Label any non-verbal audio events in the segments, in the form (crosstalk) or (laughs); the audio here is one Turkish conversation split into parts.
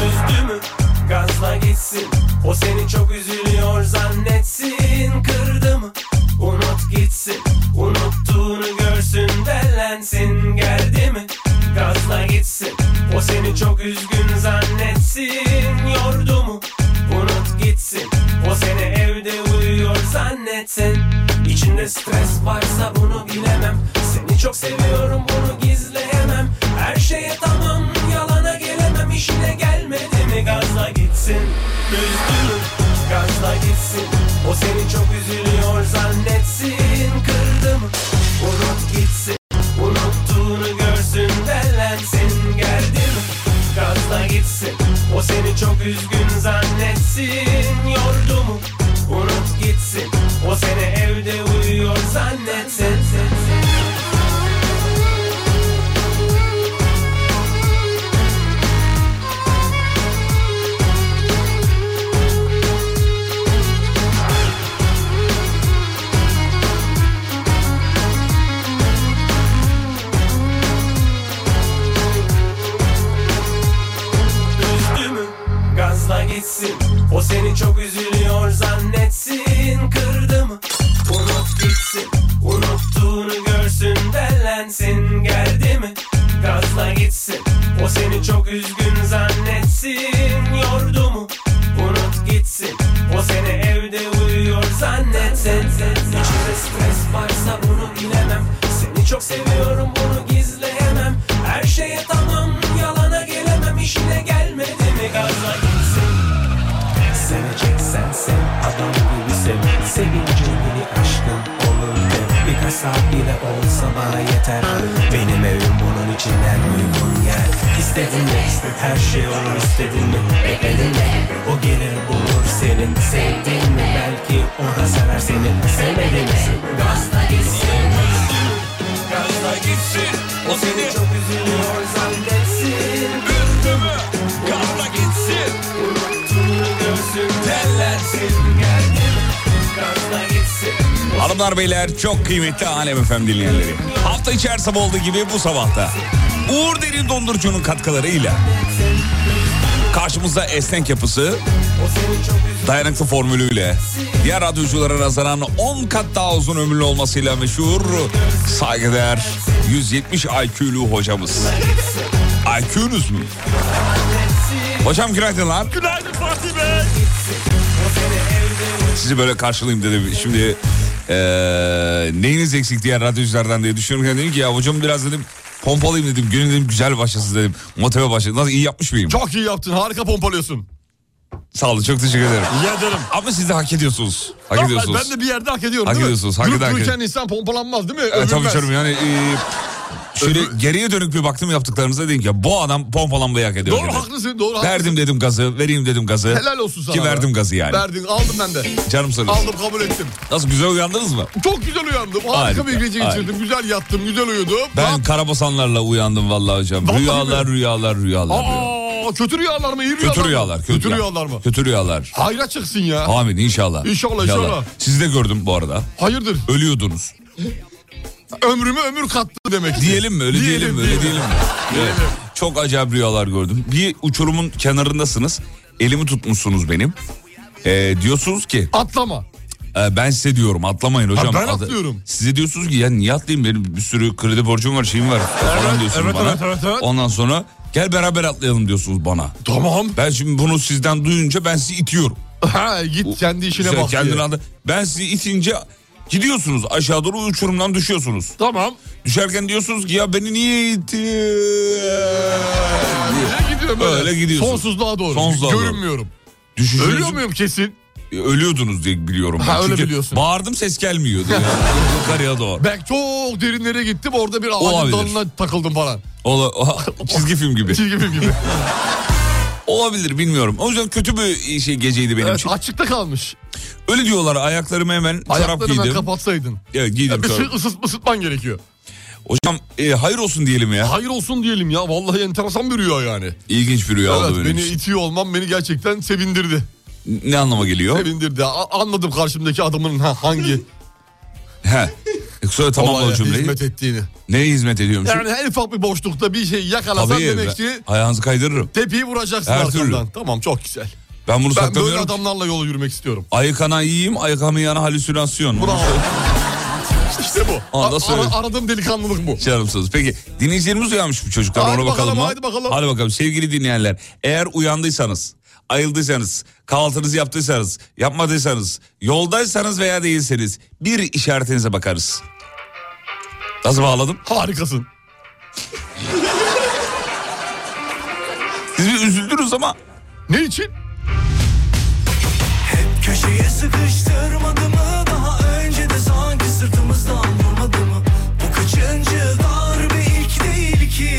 Üzdü mü? Gazla gitsin O seni çok üzülüyor zannetsin Kırdı mı? Unut gitsin Unuttuğunu görsün Dellensin Geldi mi? Gazla gitsin O seni çok üzgün zannetsin Yordu mu? Unut gitsin O seni evde uyuyor zannetsin İçinde stres varsa bunu bilemem Seni çok seviyorum bunu gizleyemem Her şeye tamam yalana gelemem işine gelmedi mi gazla gitsin Üzdürür gazla gitsin O seni çok üzülüyor zannetsin Kırdı mı unut gitsin Unuttuğunu görsün dellensin Geldi mi gazla gitsin O seni çok üzgün zannetsin Yordu mu unut gitsin O seni evde uyuyor zannetsin Üzdü mü? Gazla gitsin O seni çok üzülüyor zannetsin Kırdı mı? Unut gitsin Unuttuğunu görsün Dellensin Geldi mi? Gazla gitsin O seni çok üzgün zannetsin Yordu mu? Unut gitsin O seni evde uyuyor zannetsin İçinde stres varsa bunu bilemem Seni çok seviyorum bunu gizleyemem Her şeye tamam yalana gelemem işine gelmedi mi gazla gitsin Seveceksen sev adam gibi sev Sevince beni aşkım olur de Birkaç saat bile olsa bana yeter Benim evim bunun için en uygun yer İstedin mi? Her şey olur istedin mi? Bekledin mi? O gelir bulur senin Sevdin mi? Belki o da sever seni Sevmedin mi? Gazla gitsin Gazla gitsin O seni çok üzülüyor zannetsin Üzdü mü? Gazla gitsin Unuttuğunu görsün Tellensin Geldi mi? Gazla gitsin Hanımlar beyler çok kıymetli Alem FM dinleyenleri. Hafta içi her sabah olduğu gibi bu sabahta Uğur Derin Dondurucu'nun katkılarıyla karşımızda esnek yapısı, dayanıklı formülüyle, diğer radyoculara nazaran 10 kat daha uzun ömürlü olmasıyla meşhur saygıdeğer 170 IQ'lu hocamız. IQ'nuz mu? Hocam günaydınlar. Günaydın Fatih Bey. Sizi böyle karşılayayım dedim. Şimdi eee, neyiniz eksik diğer radyoculardan diye düşünürken dedim ki ya hocam biraz dedim pompalayayım dedim. Günün dedim güzel başlasın dedim. Motive başlasın. Nasıl iyi yapmış mıyım? Çok iyi yaptın. Harika pompalıyorsun. Sağ olun çok teşekkür ederim. Rica ederim. Ama siz de hak ediyorsunuz. Hak Tamam, ediyorsunuz. Ben de bir yerde hak ediyorum Hak değil mi? ediyorsunuz, hak Durup eden hak dururken ediyor. insan pompalanmaz değil mi? Evet, tabii Övünmez. canım yani eee, şöyle Ömür- geriye dönük bir baktım yaptıklarınıza dedim ki bu adam pompalanmayı hak ediyor. Doğru dedi. haklısın. Doğru haklısın. Verdim dedim gazı, vereyim dedim gazı. Helal olsun sana. Ki verdim gazı yani. Verdin. Aldım ben de. Canım söylüyor. Aldım kabul ettim. Nasıl güzel uyandınız mı? Çok güzel uyandım. Harika, Harika, bir gece harika. geçirdim. Güzel yattım. Güzel uyudum. Ben karabasanlarla uyandım vallahi hocam. Vallahi rüyalar, rüyalar, rüyalar. Aa, kötü rüyalar mı? iyi rüyalar Kötü mı? rüyalar. Kötü, rüyalar mı? Kötü rüyalar. Hayra çıksın ya. Amin inşallah. İnşallah, inşallah. Sizi de gördüm bu arada. Hayırdır? Ölüyordunuz. Ömrüme ömür kattı demek. Diyelim mi? Öyle diyelim, mi? Öyle diyelim mi? Evet. Çok acayip rüyalar gördüm. Bir uçurumun kenarındasınız. Elimi tutmuşsunuz benim. Ee, diyorsunuz ki Atlama. e, ben size diyorum atlamayın hocam. ben Adı- atlıyorum. Size diyorsunuz ki ya niye atlayayım benim bir sürü kredi borcum var şeyim var falan Evet, diyorsunuz evet, bana. evet, evet, evet. Ondan sonra gel beraber atlayalım diyorsunuz bana. Tamam. Ben şimdi bunu sizden duyunca ben sizi itiyorum. Ha, git kendi işine Güzel, bak kendini diye. aldı. Ben sizi itince Gidiyorsunuz aşağı doğru uçurumdan düşüyorsunuz. Tamam. Düşerken diyorsunuz ki ya beni niye itti? Öyle gidiyor böyle. Öyle gidiyorsun. Sonsuzluğa doğru. Sonsuzluğa doğru. Görünmüyorum. Düşüşünüz- Ölüyor muyum kesin? Ölüyordunuz diye biliyorum ben. Ha, öyle Çünkü biliyorsun. Bağırdım (laughs) ses gelmiyordu. Yani. Yukarıya doğru. Ben çok derinlere gittim orada bir Olabilir. ağacın dalına takıldım falan. Ola, (laughs) çizgi film gibi. Çizgi film gibi. (laughs) Olabilir bilmiyorum. O yüzden kötü bir şey geceydi benim Evet, için. açıkta kalmış. Öyle diyorlar ayaklarımı hemen çorap Ayaklarını ben giydim. kapatsaydın. evet giydim Ya bir çorap. şey ısıt, ısıtman gerekiyor. Hocam e, hayır olsun diyelim ya. Hayır olsun diyelim ya. Vallahi enteresan bir rüya yani. İlginç bir rüya oldu Evet, benim beni için. itiyor olmam beni gerçekten sevindirdi. Ne anlama geliyor? Sevindirdi. A- anladım karşımdaki adamın ha- hangi He. E, Söyle tamamla o olaya cümleyi. hizmet ettiğini. Neye hizmet ediyormuş? (laughs) Yani her ufak bir boşlukta bir şey yakalasan Tabii ben- demek ki ayağınızı kaydırırım. tepeyi vuracaksın Her türlü. arkandan. Tamam çok güzel. Ben bunu Ben böyle saklamıyorum. adamlarla yol yürümek istiyorum. Ayıkana yiyeyim, ayıkamayana halüsinasyon. (laughs) Bravo. işte bu. Anda A- söyledim. ara- aradığım delikanlılık bu. Çağırmışsınız. Peki dinleyicilerimiz uyanmış bu çocuklar Hadi ona bakalım. bakalım, ha. hadi bakalım. Hadi bakalım sevgili dinleyenler. Eğer uyandıysanız, ayıldıysanız, kahvaltınızı yaptıysanız, yapmadıysanız, yoldaysanız veya değilseniz bir işaretinize bakarız. Nasıl bağladım? Harikasın. (laughs) Siz bir üzüldünüz ama Ne için? Köşeye sıkıştırmadı mı daha önce de sanki sırtımızdan vurmadı mı Bu kaçıncı darbe ilk değil ki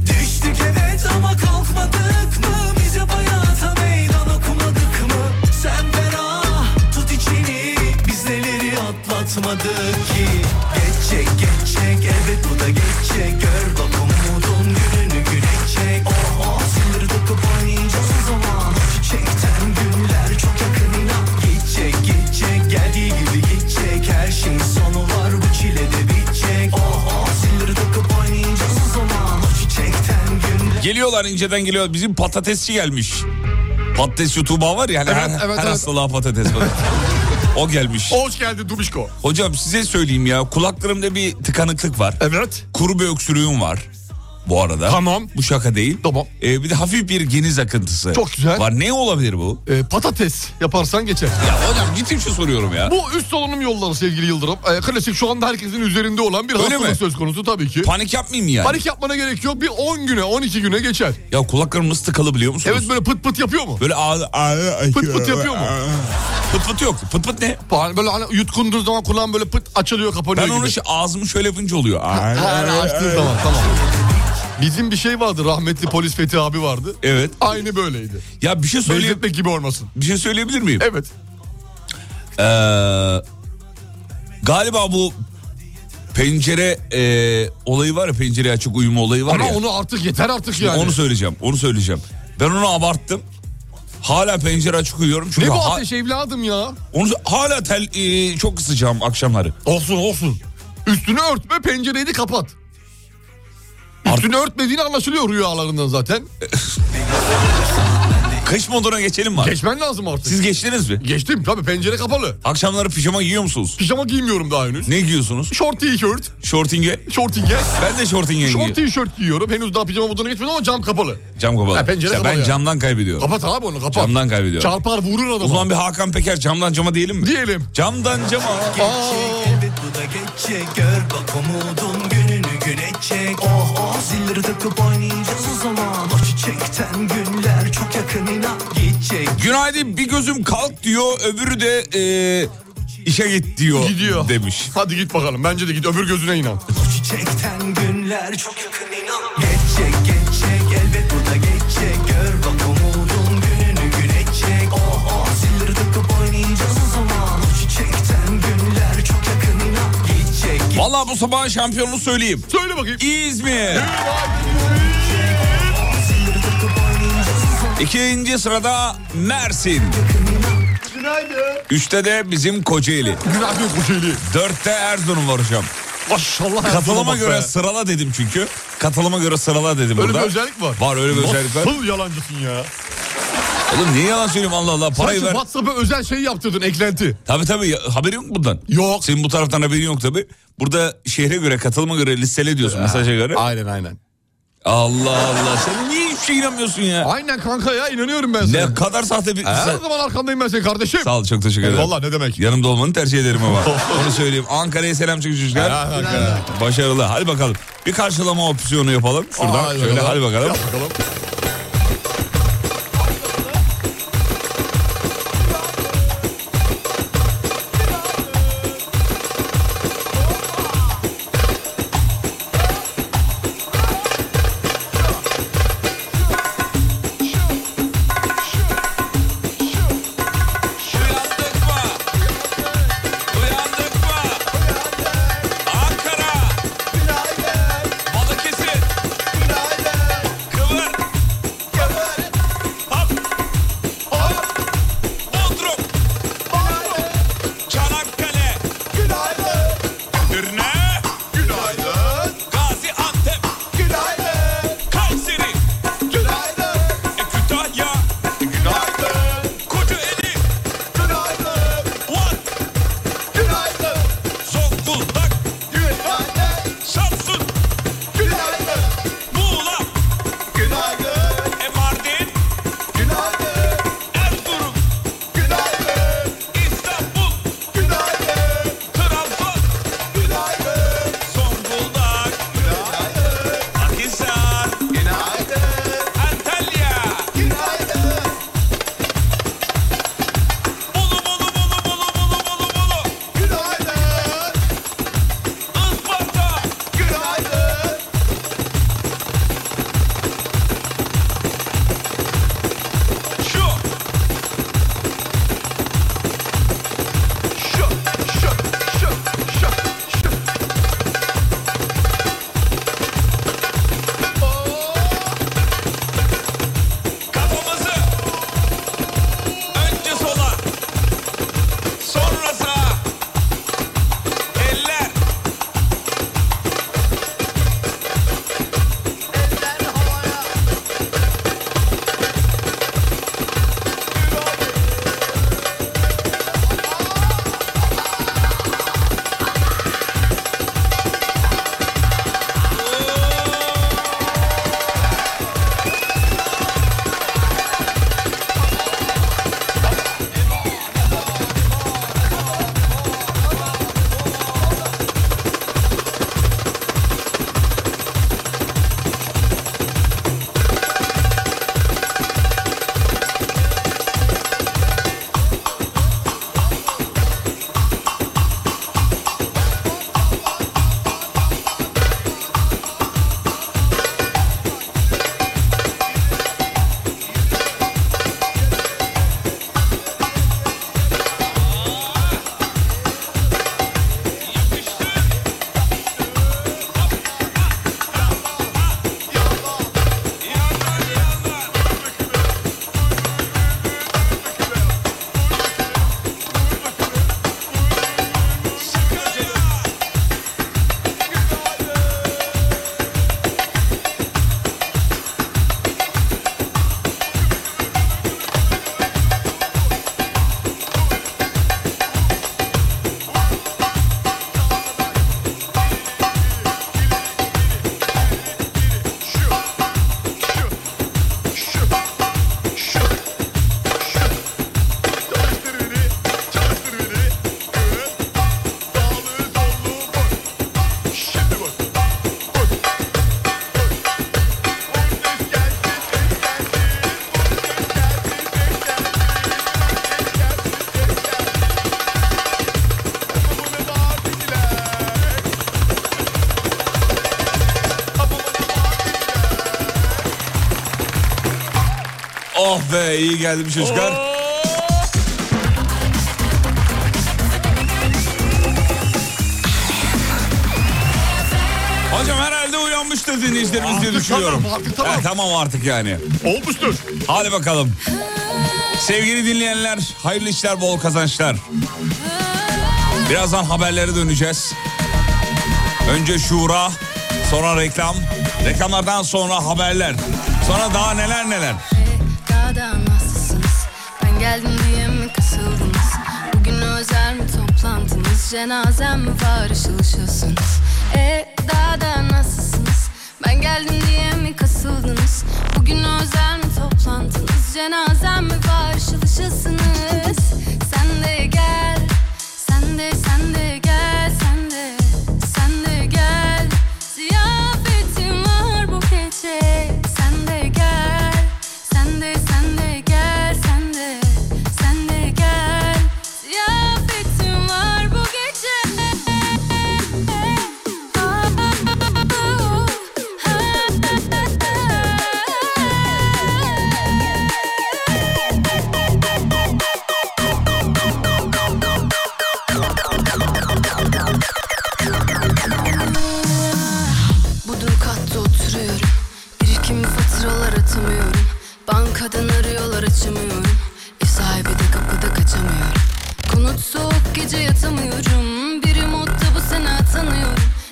Düştük evet ama kalkmadık mı bize hayata meydan okumadık mı Sen ferah tut içini biz neleri atlatmadık ki Geçecek geçecek evet bu da geçecek gör bak umudun gününü güneşecek Oh oh sınır dokup oynayacağız o zaman Çiçekten günler çok yakın inan Geçecek geçecek geldiği gibi geçecek Her şeyin sonu var bu çilede bitecek Oh oh sınır dokup oynayacağız o zaman Çiçekten günler geliyorlar inceden geliyor. Bizim patatesçi gelmiş. Patates YouTube'a var ya hani Evet, her, evet, her evet. hastalığa patates (laughs) var. o gelmiş. Hoş geldin Dubişko. Hocam size söyleyeyim ya kulaklarımda bir tıkanıklık var. Evet. Kuru bir öksürüğüm var bu arada. Tamam. Bu şaka değil. Tamam. Ee, bir de hafif bir geniz akıntısı. Çok güzel. Var ne olabilir bu? Ee, patates yaparsan geçer. Ya hocam ciddi bir şey soruyorum ya. Bu üst solunum yolları sevgili Yıldırım. Ee, klasik şu anda herkesin üzerinde olan bir Öyle hastalık mi? söz konusu tabii ki. Panik yapmayayım yani. Panik yapmana gerek yok. Bir 10 güne 12 güne geçer. Ya kulaklarım nasıl tıkalı biliyor musunuz? Evet böyle pıt pıt yapıyor mu? Böyle ağ- ağ- Pıt pıt yapıyor mu? Pıt pıt yok. Pıt pıt ne? Hani Böyle hani yutkunduğu zaman kulağın böyle pıt açılıyor kapanıyor Ben gibi. onu şey, ağzımı şöyle yapınca oluyor. Ha, hani açtığın zaman tamam. Bizim bir şey vardı rahmetli polis Fethi abi vardı. Evet. Aynı böyleydi. Ya bir şey söyle Benzetmek gibi olmasın. bir şey söyleyebilir miyim? Evet. Ee, galiba bu pencere e, olayı var ya pencere açık uyuma olayı var Ama ya. onu artık yeter artık yani. Onu söyleyeceğim. Onu söyleyeceğim. Ben onu abarttım. Hala pencere açık uyuyorum. Çünkü ne bu ha- ateş evladım ya? onu hala tel e, çok ısıcağım akşamları. Olsun olsun. Üstünü örtme pencereyi de kapat. Üstünü örtmediğini anlaşılıyor rüyalarından zaten. Kış moduna geçelim mi? abi? Geçmen lazım artık. Siz geçtiniz mi? Geçtim tabii pencere kapalı. Akşamları pijama giyiyor musunuz? Pijama giymiyorum daha henüz. Ne giyiyorsunuz? Short t-shirt, Şortinge. short t-shirt. Ben de şortinge Short giyiyorum. t-shirt giyiyorum. Henüz daha pijama moduna geçmedim ama cam kapalı. Cam kapalı. Ha, pencere İşte ben kapalı ya. camdan kaybediyorum. Kapat abi onu kapat. Camdan kaybediyorum. Çarpar vurur adamı. O zaman bir Hakan Peker camdan cama diyelim mi? Diyelim. Camdan cama. Geçecek elbet bu da geçecek Gör bak umudun gününü güneşecek Oh oh zilleri takıp oynayacağız o zaman O çiçekten günler çok yakın inan Geçecek Günaydın Şey, bir gözüm kalk diyor öbürü de e, işe git diyor. Gidiyor. Demiş. Hadi git bakalım. Bence de git öbür gözüne inan. o çiçekten günler çok yakın inan Geçecek geçecek elbet bu da geçecek Gör bak umudun gününü güneşecek Oh oh zilleri takıp oynayacağız o zaman O çiçekten günler çok yakın inan Geçecek Valla bu sabah şampiyonunu söyleyeyim. Söyle bakayım. İzmir. İkinci sırada Mersin. Günaydın. Üçte de bizim Kocaeli. Günaydın Kocaeli. Dörtte Erzurum var hocam. Maşallah. Erzurum'a Katılıma bak göre be. sırala dedim çünkü. Katılıma göre sırala dedim Öyle burada. bir özellik var. Var öyle bir özellik var. Nasıl yalancısın ya? Oğlum niye yalan söyleyeyim Allah Allah parayı Sanki ver. WhatsApp'a özel şey yaptırdın eklenti. Tabii tabii ya- haberi yok mu bundan? Yok. Senin bu taraftan haberin yok tabii. Burada şehre göre katılıma göre listele diyorsun mesaja göre. Aynen aynen. Allah Allah sen niye hiçbir hiçbir şey inanmıyorsun ya. Aynen kanka ya inanıyorum (laughs) ben sana. Ne kadar sahte bir... Her zaman arkandayım ben senin kardeşim. Sağ ol çok teşekkür ederim. Valla E, ne demek. Yanımda olmanı tercih (laughs) ederim ama. Onu söyleyeyim. Ankara'ya selam çekici çocuklar. Ya, Ankara. Başarılı. Hadi bakalım. Bir karşılama opsiyonu yapalım. Şuradan Aa, şöyle hadi bakalım. Yap bakalım. Uyandık mı? Uyandık mı? Ankara. Balıkesir. Kıvır. Hop. Bodrum. Çanakkale. Edirne. Gaziantep. Kayseri. E, Kütahya. Kocaeli. Van. Zonguldak. Samsun. Muğla. E, Mardin. Erzurum. İstanbul. Trabzon. Zonguldak. Akhisar. Antalya. Bolu bolu bolu bolu bolu bolu bolu. Isparta. Şu. Kafamızı. Önce sola. Sonra sağa. Eller. Oh be iyi şey geldim çocuklar. Hocam herhalde uyanmıştır dinleyicilerimiz diye Artık düşünüyorum. tamam, artık tamam. He, tamam artık yani. Olmuştur. Hadi bakalım. Sevgili dinleyenler, hayırlı işler, bol kazançlar. Birazdan haberlere döneceğiz. Önce şura, sonra reklam. Reklamlardan sonra haberler. Sonra daha neler neler. Daha da nasılsınız? Ben geldim diye mi kasıldınız? Bugün özel mi toplantınız? Cenazem mi var ışıl ışılsınız? E daha da nasılsınız? Ben geldim diye mi kasıldınız? Bugün özel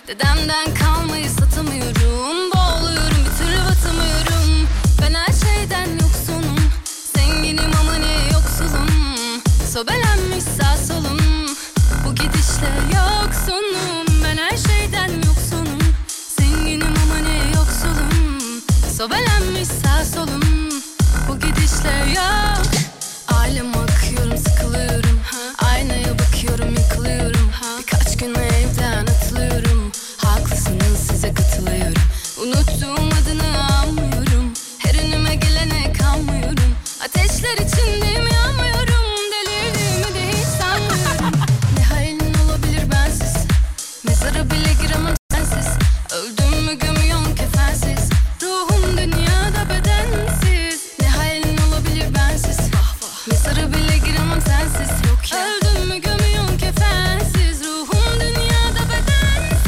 Dedemden kalmayı satamıyorum Boğuluyorum bir türlü batamıyorum Ben her şeyden yoksunum Zenginim ama ne yoksulum Sobelenmiş sağ solum Bu gidişle yoksunum Ben her şeyden yoksunum Zenginim ama ne yoksulum Sobelenmiş sağ solum Bu gidişle yok Alem akıyorum sıkılıyorum ha. Aynaya bakıyorum yıkılıyorum ha. Birkaç gün evden atılıyorum Haklısınız size katılıyorum Unuttuğum adını anmıyorum Her önüme gelene kalmıyorum Ateşler içindeyim yanmıyorum Delirdiğimi de hiç sanmıyorum Ne halin olabilir bensiz Mezara bile giremem sensiz Öldüm mü gömüyorsun kefensiz Ruhum dünyada bedensiz Ne halin olabilir bensiz Mezara bile giremem sensiz Yok ya. Öldüm mü gömüyorsun kefensiz Ruhum dünyada bedensiz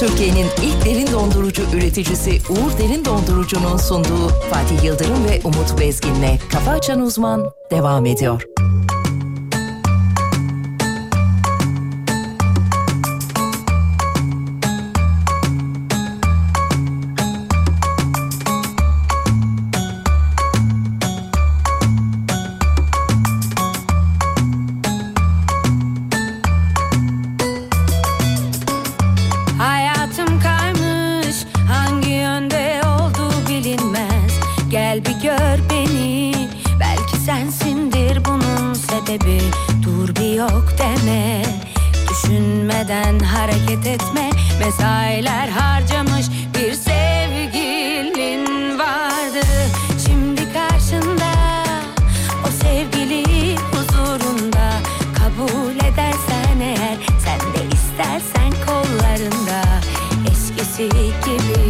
Türkiye'nin ilk derin dondurucu üreticisi Uğur Derin Dondurucu'nun sunduğu Fatih Yıldırım ve Umut Bezgin'le Kafa Açan Uzman devam ediyor. Hayatım kaymış hangi yönde olduğu bilinmez Gel bir gör beni belki sensindir bunun sebebi Dur bir yok deme düşünmeden hareket etme Mesailer harcamış bir sevgilin vardı Şimdi karşında o sevgili huzurunda Kabul edersen eğer sen de istersen kollarında Eskisi gibi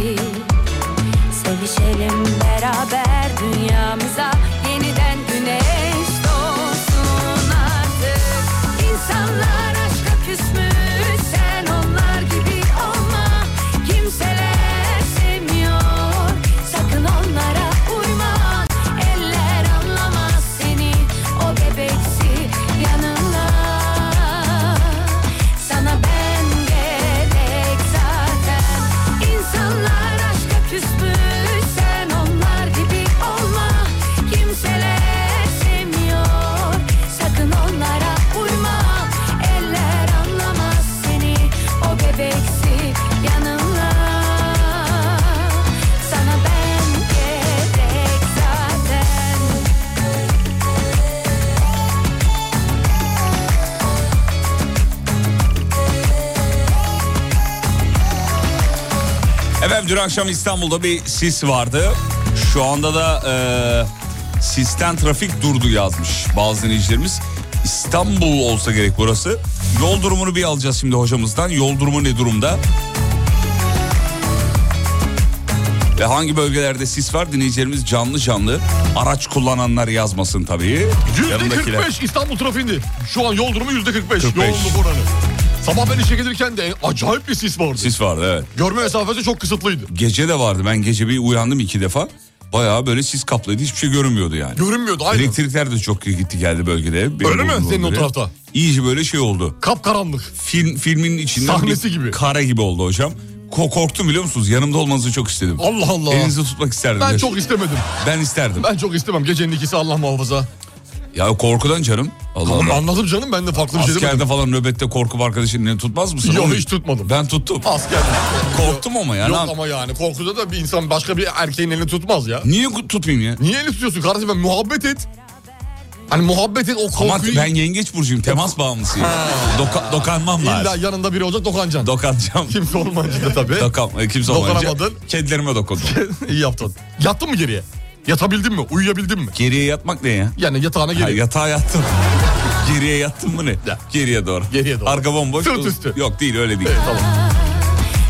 sevişelim beraber Dünyamıza yeniden güneş doğsun artık İnsanlar aşka küsmüş sen onlar gibi olma Kimseler sevmiyor sakın onlara uyma Eller anlamaz seni o bebeksi yanına Sana ben gerek zaten İnsanlar aşka küsmüş sen onlar gibi olma Kimseler sevmiyor sakın onlara uyma Eller anlamaz seni o bebeksi yanına Sana ben gerek zaten Efendim dün akşam İstanbul'da bir sis vardı. Şu anda da e, sisten trafik durdu yazmış bazı dinleyicilerimiz. İstanbul olsa gerek burası. Yol durumunu bir alacağız şimdi hocamızdan. Yol durumu ne durumda? Ve hangi bölgelerde sis var dinleyicilerimiz canlı canlı. Araç kullananlar yazmasın tabii. Yanındakiler. %45 İstanbul trafiğinde. Şu an yol durumu %45. 45. Yoğunluk oranı. Sabah ben işe gelirken de acayip bir sis vardı. Sis vardı evet. Görme mesafesi çok kısıtlıydı. Gece de vardı ben gece bir uyandım iki defa. Bayağı böyle sis kaplıydı hiçbir şey görünmüyordu yani. Görünmüyordu aynen. Elektrikler de çok gitti geldi bölgede. Benim Öyle mi? bulunduğum Senin o bölge. tarafta. İyice böyle şey oldu. Kapkaranlık. Film, filmin içinden Sahnesi bir gibi. kara gibi oldu hocam. Ko- korktum biliyor musunuz? Yanımda olmanızı çok istedim. Allah Allah. Elinizi tutmak isterdim. Ben de. çok istemedim. ben isterdim. Ben çok istemem. Gecenin ikisi Allah muhafaza. Ya korkudan canım. Allah Ama Allah. anladım canım ben de farklı bir şey demedim. Askerde falan nöbette korkup arkadaşın elini tutmaz mısın? Yok Oğlum, hiç tutmadım. Ben tuttum. Asker. (laughs) Korktum ama ya. Yok ne yap- ama yani korkuda da bir insan başka bir erkeğin elini tutmaz ya. Niye ku- tutmayayım ya? Niye elini tutuyorsun kardeşim ben muhabbet et. Hani muhabbet et o Ama korkuyu ben yengeç burcuyum. Temas bağımlısıyım. Doka- dokanmam illa lazım. yanında biri olacak dokancan. Dokanacağım. Kimse olmayınca da tabii. Dokam, e, kimse olmayınca Dokunamadın. kedilerime dokundum. (laughs) İyi yaptın. Yattın mı geriye? Yatabildin mi? Uyuyabildin mi? Geriye yatmak ne ya? Yani yatağına Ha, geri. (laughs) yatağa yattım. Geriye yattım mı ne? Geriye doğru. Geriye doğru. Arka bomboş. Sırt üstü. Yok değil öyle değil. tamam.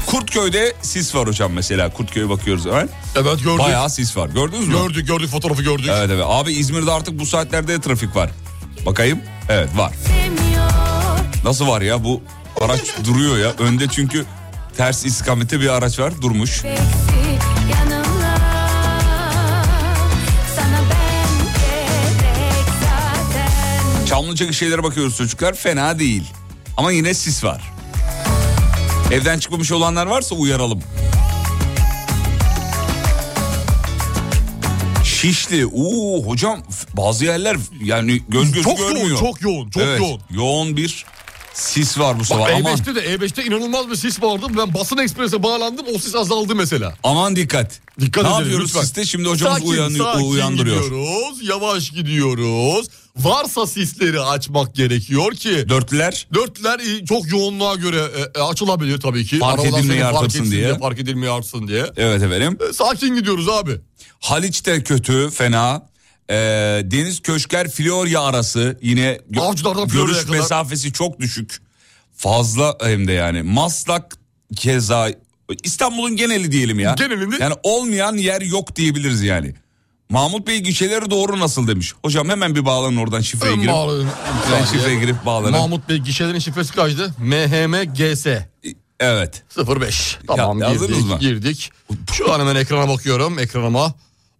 Kurtköy'de sis var hocam mesela. Kurtköy'e bakıyoruz hemen. Evet gördük. Bayağı sis var. Gördünüz mü? Gördük gördük fotoğrafı gördük. Evet evet. Abi İzmir'de artık bu saatlerde trafik var. Bakayım. Evet var. Nasıl var ya bu araç duruyor ya. Önde çünkü ters istikamette bir araç var durmuş. Beksi yanımla Sana ben gerek zaten Çamlıca şeylere bakıyoruz çocuklar fena değil. Ama yine sis var. Evden çıkmamış olanlar varsa uyaralım. Şişli. Oo hocam f- bazı yerler yani göz göz Çok yoğun, görmüyor. çok yoğun, çok Evet, yoğun. Yoğun bir sis var bu Bak sabah. Aman, E5'te de E5'te inanılmaz bir sis vardı. Ben basın eksprese bağlandım o sis azaldı mesela. aman dikkat. Dikkat ne edelim yapıyoruz lütfen. siste? Şimdi hocamız Sakin, uyanıyor, sakin uyandırıyor. gidiyoruz, yavaş gidiyoruz. Varsa sisleri açmak gerekiyor ki... Dörtlüler Dörtler e, çok yoğunluğa göre e, e, açılabiliyor tabii ki. Fark Arabalar edilmeye seni fark artırsın etsin diye. Fark edilmeye artsın diye. evet efendim. E, Sakin gidiyoruz abi. Haliç'te kötü, fena. Ee, Deniz Köşker Florya arası yine gö- Avcılardan Florya'ya görüş kadar. mesafesi çok düşük. Fazla hem de yani. Maslak keza İstanbul'un geneli diyelim ya. Genelinde- Yani olmayan yer yok diyebiliriz yani. Mahmut Bey gişeleri doğru nasıl demiş. Hocam hemen bir bağlanın oradan şifreye girip. Bağlanın. Ben şifreye girip bağlanın. Mahmut Bey gişelerin şifresi kaçtı? MHMGS Evet. 05. Tamam Ya, yazdınız girdik, mı? girdik. Şu an hemen ekrana bakıyorum ekranıma.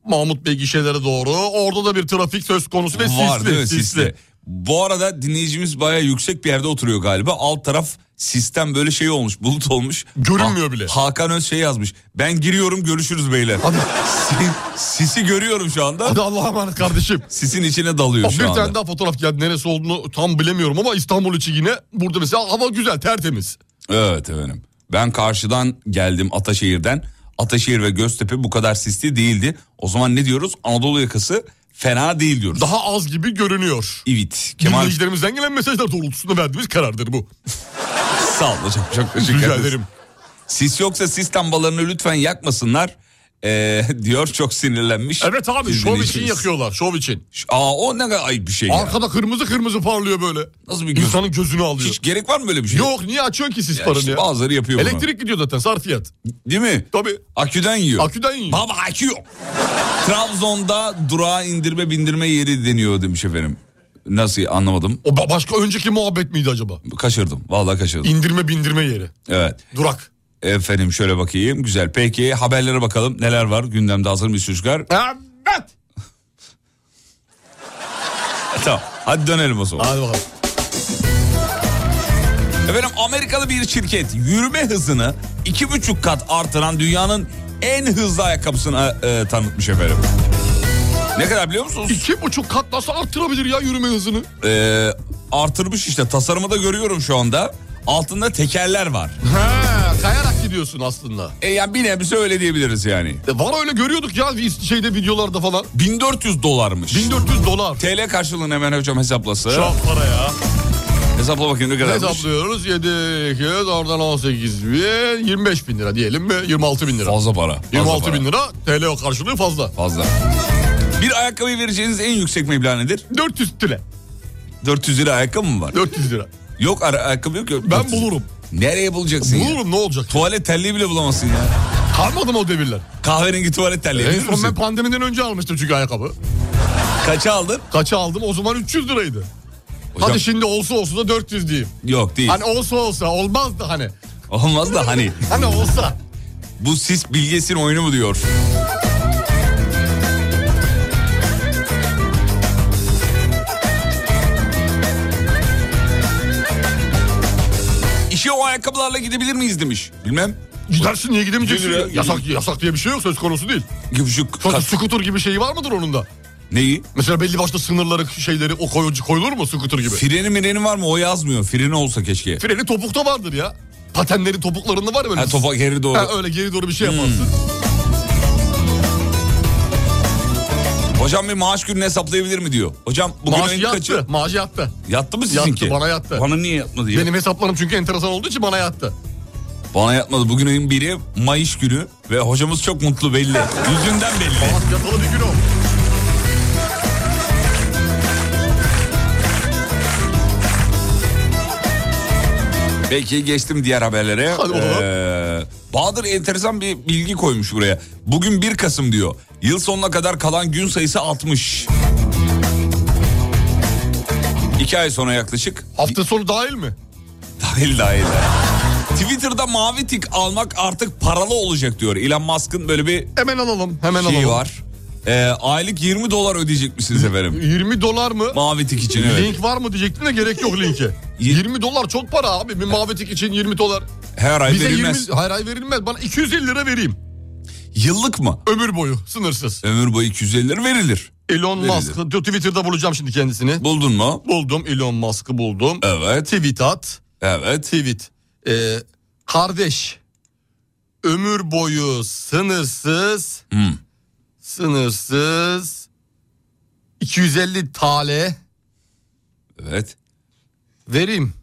Mahmut Bey gişelere doğru. Orada da bir trafik söz konusu ve Var sisli, değil mi? sisli. Sisli. Bu arada dinleyicimiz bayağı yüksek bir yerde oturuyor galiba. Alt taraf sistem böyle şey olmuş, bulut olmuş. Görünmüyor Ha- bile. Hakan Öz şey yazmış. Ben giriyorum görüşürüz beyler. Hadi. (laughs) Si- Sisi görüyorum şu anda. Hadi Allah'a emanet kardeşim. Oh, Sisin içine dalıyor bir şu anda. tane daha fotoğraf geldi. Neresi olduğunu tam bilemiyorum ama İstanbul içi yine. Burada mesela hava güzel, tertemiz. Evet efendim. Ben karşıdan geldim Ataşehir'den. Ataşehir ve Göztepe bu kadar sisli değildi. O zaman ne diyoruz? Anadolu yakası fena değil diyoruz. Daha az gibi görünüyor. Evet. Kemal Dinleyicilerimizden gelen mesajlar doğrultusunda verdiğimiz karardır bu. sağ ol. Çok, çok teşekkür Rica ederiz. ederim. Sis yoksa sis lambalarını lütfen yakmasınlar. Ee, (laughs) diyor çok sinirlenmiş. Evet abi Biz şov için dinleyicimiz. yakıyorlar, şov için. Ş- Aa o ne kadar ayıp bir şey ya. Arkada kırmızı kırmızı parlıyor böyle. Nasıl bir göz? İnsanın gözünü alıyor. Hiç gerek var mı böyle bir şey? Yok niye açıyorsun ki siz Ya paranı işte ya? bazıları yapıyor bunu. Elektrik gidiyor zaten sarfiyat. Değil mi? Tabii. Aküden yiyor. Aküden yiyor. Baba akü yok. Trabzon'da durağa indirme bindirme yeri deniyor demiş efendim. Nasıl anlamadım. O ba- başka önceki muhabbet miydi acaba? Kaçırdım. Vallahi kaçırdım. İndirme bindirme yeri. Evet. Durak. Efendim şöyle bakayım. Güzel. Peki haberlere bakalım. Neler var? Gündemde hazır mıyız çocuklar? (laughs) Evet. E, tamam. Hadi dönelim o zaman. Hadi bakalım. Efendim Amerikalı bir şirket yürüme hızını iki buçuk kat artıran dünyanın en hızlı ayakkabısını e, tanıtmış efendim. Ne kadar biliyor musunuz? İki buçuk kat nasıl arttırabilir ya yürüme hızını? E, artırmış işte tasarımı da görüyorum şu anda. Altında tekerler var. He, kayarak gidiyorsun aslında. E, yani bir nebze öyle diyebiliriz yani. E, var öyle görüyorduk ya biz şeyde videolarda falan. 1400 dolarmış. 1400 dolar. TL karşılığını hemen hocam hesaplası. Çok para ya. Hesapla bakayım ne kadarmış. Hesaplıyoruz 7, 2, oradan 18 bin, 25 bin lira diyelim ve 26 bin lira. Fazla para. fazla 26 para. bin lira TL o karşılığı fazla. Fazla. Bir ayakkabı vereceğiniz en yüksek meblağ nedir? 400 TL. 400 lira ayakkabı mı var? 400 lira. Yok ara- ayakkabı yok. yok. Ben bulurum. Nereye bulacaksın ya? Bulurum ne olacak? Tuvalet terliği bile bulamazsın ya. Kalmadı mı o devirler? Ee? Kahverengi tuvalet terliği. En bilir son ben misin? pandemiden önce almıştım çünkü ayakkabı. Kaça aldın? Kaça aldım? O zaman 300 liraydı. Hocam, Hadi şimdi olsa olsa da 400 diyeyim. Yok değil. Hani olsa olsa olmaz da (laughs) hani. Olmaz da hani Hani olsa. bu sis bilgesin oyunu mu diyor. İşe o ayakkabılarla gidebilir miyiz demiş. Bilmem. Gidersin niye gidemeyeceksin? Gidilir Ya. ya. Yasak, yasak diye bir şey yok söz konusu değil. Gümüşük. Sonuçta kas- skuter gibi şeyi var mıdır onun da? Neyi? Mesela belli başlı sınırları şeyleri o koyucu koyulur mu skuter gibi? şey. Freni mireni var mı? O yazmıyor. Freni olsa keşke. Freni topukta vardır ya. Patenlerin topuklarında var ya böyle. Ha, topa geri doğru. Hmm. Ha, öyle geri doğru bir şey yaparsın. Hocam bir maaş gününü hesaplayabilir mi diyor. Hocam bugün Maaşı ayın yattı. kaçı? Maaşı yattı. Yattı mı sizinki? Yattı, bana yattı. Bana niye yatmadı ya? Benim hesaplarım çünkü enteresan olduğu için bana yattı. Bana yatmadı. Bugün ayın biri Mayıs günü ve hocamız çok mutlu belli. Yüzünden belli. Bana yatalı bir gün o. Peki geçtim diğer haberlere. Hadi bakalım. Ee, Bahadır enteresan bir bilgi koymuş buraya. Bugün 1 Kasım diyor. Yıl sonuna kadar kalan gün sayısı 60. 2 ay sonra yaklaşık Hafta sonu dahil mi? Dahil dahil. Twitter'da mavi tik almak artık paralı olacak diyor. Elon Musk'ın böyle bir Hemen alalım. Hemen şeyi alalım. Şey var. Ee, aylık 20 dolar ödeyecekmişsiniz efendim. 20 dolar mı? Mavi tik için evet. Link var mı diyecektim de gerek yok (laughs) linke. 20 dolar çok para abi. Bir mavi tik için 20 dolar. Her ay Bize verilmez. 20 hayır hayır verilmez. Bana 250 lira vereyim. Yıllık mı? Ömür boyu sınırsız. Ömür boyu 250 lira verilir. Elon Verilir. Musk'ı diyor, Twitter'da bulacağım şimdi kendisini. Buldun mu? Buldum Elon Musk'ı buldum. Evet. Tweet at. Evet. Tweet. Ee, kardeş. Ömür boyu sınırsız. Hmm. Sınırsız. 250 tane Evet. vereyim.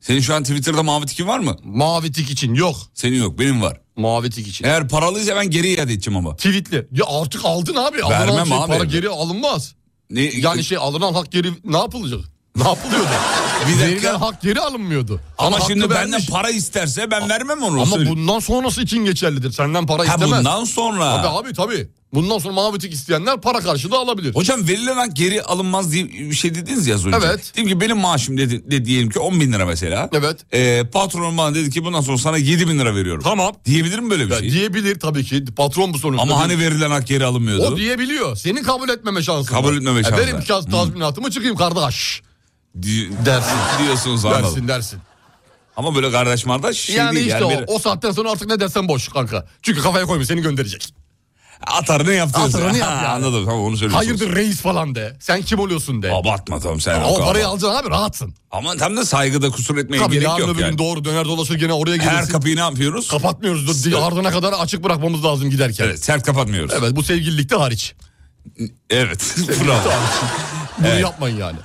Senin şu an Twitter'da mavi tikin var mı? Mavi tik için yok. Senin yok benim var. Mavi tik için. Eğer paralıysa ben geri iade edeceğim ama. Tweetli. Ya artık aldın abi. Alınan Vermem şey, abi. Para geri alınmaz. Ne, Yani şey alınan hak geri ne yapılacak? Ne yapılıyordu? (laughs) Bir dakika. Verilen hak geri alınmıyordu. ama hakkı şimdi benden vermiş. para isterse ben vermem onu. Ama söyleyeyim. bundan sonrası için geçerlidir. Senden para ha, istemez. bundan sonra. Tabii abi tabii. Bundan sonra mavi tik isteyenler para karşılığı alabilir. Hocam verilen hak geri alınmaz diye bir şey dediniz ya az önce. Evet. Diyelim ki benim maaşım dedi, de diyelim ki 10 bin lira mesela. Evet. Ee, patronum bana dedi ki bundan sonra sana 7 bin lira veriyorum. Tamam. Diyebilir mi böyle bir Ya şey? diyebilir tabii ki. Patron bu sonuçta. Ama Değil. hani verilen hak geri alınmıyordu. o diyebiliyor. Senin kabul etmeme şansın. Kabul var. etmeme E, şansı Benim var. şans Hı. tazminatımı çıkayım kardeş. Di- Dersin. (laughs) diyorsunuz anladım. Dersin dersin. Ama böyle kardeş mardaş şey yani değil. işte yani o. bir- O saatten sonra artık ne dersen boş kanka. Çünkü kafaya koyma seni gönderecek. Atarını yaptınız. (laughs) Atarını Ha, yap yani. Anladım tamam onu söylüyorsunuz. Hayırdır reis falan de. Sen kim oluyorsun de. Abartma tamam sen. o yok, parayı abart- alacaksın abi rahatsın. Ama tam da saygıda kusur etmeye Tabii gerek yarın yok öbür yani. gün doğru döner dolaşır gene oraya gelirsin. Her kapıyı ne yapıyoruz? Kapatmıyoruz. Dur, Ardına kadar açık bırakmamız lazım giderken. evet, sert kapatmıyoruz. Evet bu sevgililikte hariç. (laughs) Evet. Bravo. Bunu Evet. yapmayın yani.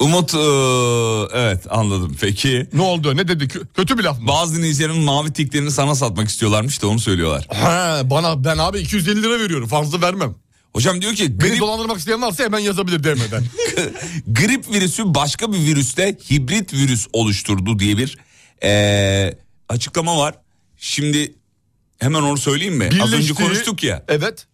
Umut eee, evet anladım. Peki Ne oldu ne dedi Kö- kötü bir laf mı? bazı dinleyicilerin mavi tiklerini sana satmak istiyorlarmış da onu söylüyorlar. (laughs) Ha, bana ben abi 250 lira veriyorum fazla vermem. Hocam diyor ki Beni grip, dolandırmak isteyen varsa hemen yazabilir demeden. grip virüsü başka bir virüste hibrit virüs oluşturdu diye bir eee, açıklama var. Şimdi hemen onu söyleyeyim mi? (laughs) Az önce Birleştiği- konuştuk ya. (laughs) Evet.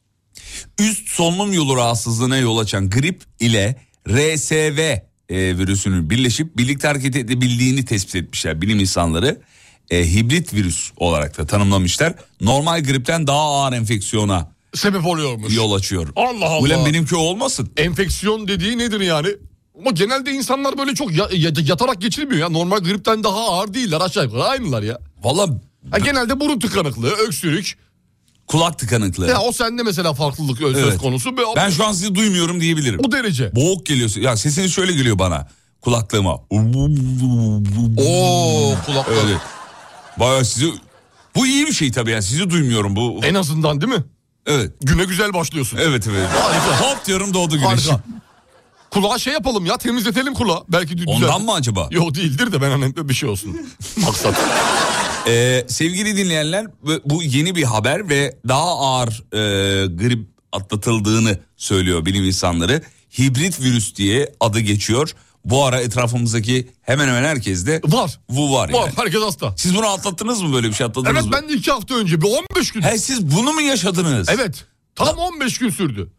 üst solunum yolu rahatsızlığına yol açan grip ile RSV e, virüsünün birleşip birlikte hareket edebildiğini tespit etmişler bilim insanları. E, hibrit virüs olarak da tanımlamışlar. Normal gripten daha ağır enfeksiyona Sebep oluyormuş. yol açıyor. Allah Allah. Ulan benimki o olmasın. Enfeksiyon dediği nedir yani? Ama genelde insanlar böyle çok ya- ya- yatarak geçirmiyor ya. Normal gripten daha ağır değiller aşağı yukarı aynılar ya. Valla Ha, genelde burun tıkanıklığı, öksürük. kulak tıkanıklığı. Ya o sende mesela farklılık söz Evet. konusu. Be- ben şu an sizi duymuyorum diyebilirim. bu derece. Boğuk geliyorsun. Ya sesiniz şöyle geliyor bana. Kulaklığıma. Oo kulakları. Öyle. Bayağı sizi... Bu iyi bir şey tabii yani sizi duymuyorum bu. En azından değil mi? Evet. Güne güzel başlıyorsun. Evet evet. Harika. Hop diyorum doğdu güneş. Harika. Kulağa şey yapalım ya temizletelim kulağı. Belki dü- düzeltir. Ondan mı acaba? Yok değildir de ben hani bir şey (laughs) olsun. Maksat. Ee, sevgili dinleyenler bu- bu yeni bir haber ve daha ağır e, grip atlatıldığını söylüyor bilim insanları. Hibrit virüs diye adı geçiyor. Bu ara etrafımızdaki hemen hemen herkeste Var. bu var yani. Var herkes hasta. Siz bunu atlattınız mı böyle bir şey atladınız Evet mı? ben de iki hafta önce bir 15 gün. He siz bunu mu yaşadınız? Evet. Tam 15 gün sürdü.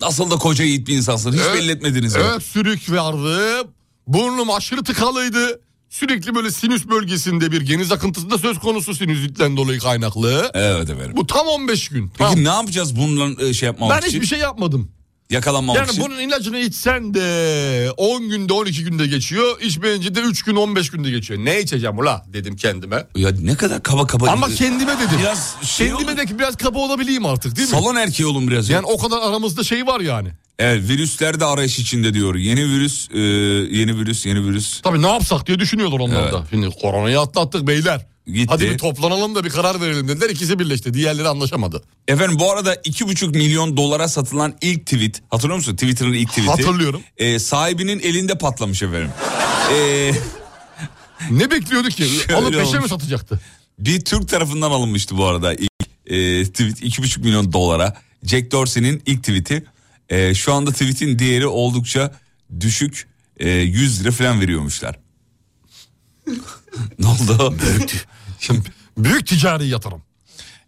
Nasıl da koca yiğit bir insansınız. Hiç Evet. belli etmediniz. ya. Evet sürük vardı. Burnum aşırı tıkalıydı. Sürekli böyle sinüs bölgesinde bir geniz akıntısında söz konusu sinüzitten dolayı kaynaklı. Evet efendim. Bu tam 15 gün. Tam. Peki ne yapacağız bununla e, şey yapmamak Ben için? hiçbir şey yapmadım. Yakalanmamak Yani için? bunun ilacını içsen de 10 günde 12 günde geçiyor. İçmeyince de 3 gün 15 günde geçiyor. Ne içeceğim ula dedim kendime. Ya ne kadar kaba kaba. Ama kendime dedim. Biraz şey kendime olun. de biraz kaba olabileyim artık değil mi? Salon erkeği olun biraz. ya. Yani o kadar aramızda şey var yani. Evet virüsler de arayış içinde diyor. Yeni virüs, e, yeni virüs, yeni virüs. Tabii ne yapsak diye düşünüyorlar onlar Evet. da. Şimdi koronayı atlattık beyler. Gitti. Hadi bir toplanalım da bir karar verelim dediler. İkisi birleşti. Diğerleri anlaşamadı. Efendim bu arada 2,5 milyon dolara satılan ilk tweet. Hatırlıyor musun? Twitter'ın ilk tweeti. Hatırlıyorum. E, sahibinin elinde patlamış efendim. E, Ne bekliyorduk ki? Şöyle Alıp peşe mi olmuş. satacaktı? bir Türk tarafından alınmıştı bu arada ilk e, tweet. 2,5 milyon dolara. Jack Dorsey'nin ilk tweeti. E, şu anda tweetin değeri oldukça düşük. E, 100 lira falan veriyormuşlar. (laughs) ne oldu? (laughs) Şimdi büyük ticari yatırım.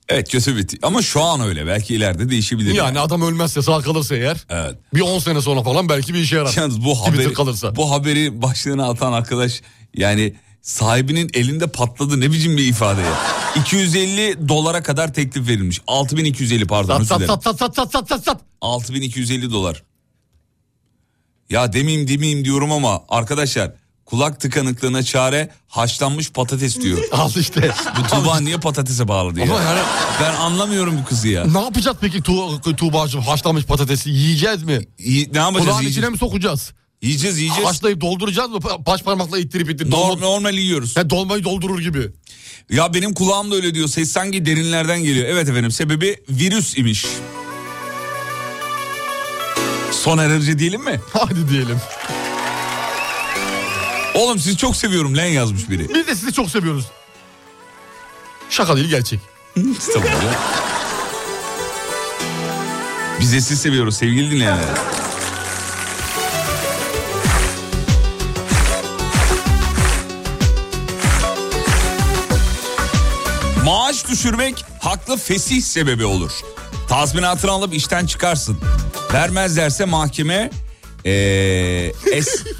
Evet kötü bir ti- Ama şu an öyle. Belki ileride değişebilir. Yani adam ölmezse sağ kalırsa eğer. Evet. Bir 10 sene sonra falan belki bir işe yarar. Yalnız bu Twitter haberi, kalırsa. bu (laughs) haberi başlığına atan arkadaş yani sahibinin elinde patladı ne biçim bir ifade ya. 250 dolara kadar teklif verilmiş. 6250 pardon Sat özür sat dilerim. sat sat sat sat sat sat sat. 6250 dolar. Ya demeyeyim demeyeyim diyorum ama arkadaşlar kulak tıkanıklığına çare haşlanmış patates diyor. (laughs) Al işte. Bu Tuba niye patatese bağladı ya? Ama yani- Ben anlamıyorum bu kızı ya. ne yapacağız peki Tu- Tuğba'cığım haşlanmış patatesi yiyeceğiz mi? İyi, ne yapacağız? Kulağın Yiyeceğiz, içine mi sokacağız? yiyeceğiz. yiyeceğiz. Haşlayıp dolduracağız mı? Pa- Baş parmakla ittirip ittirip. Normal, Dolma, normal yiyoruz. Ya dolmayı doldurur gibi. Ya benim kulağım da öyle diyor. Ses sanki derinlerden geliyor. Evet efendim sebebi virüs imiş. Son enerji diyelim mi? Hadi diyelim. Oğlum sizi çok seviyorum lan yazmış biri. Biz de sizi çok seviyoruz. Şaka değil gerçek. Tamam ya. Biz de sizi seviyoruz sevgili dinleyenler. Maaş düşürmek haklı fesih sebebi olur. Tazminatını alıp işten çıkarsın. Vermezlerse mahkeme eee es... (laughs)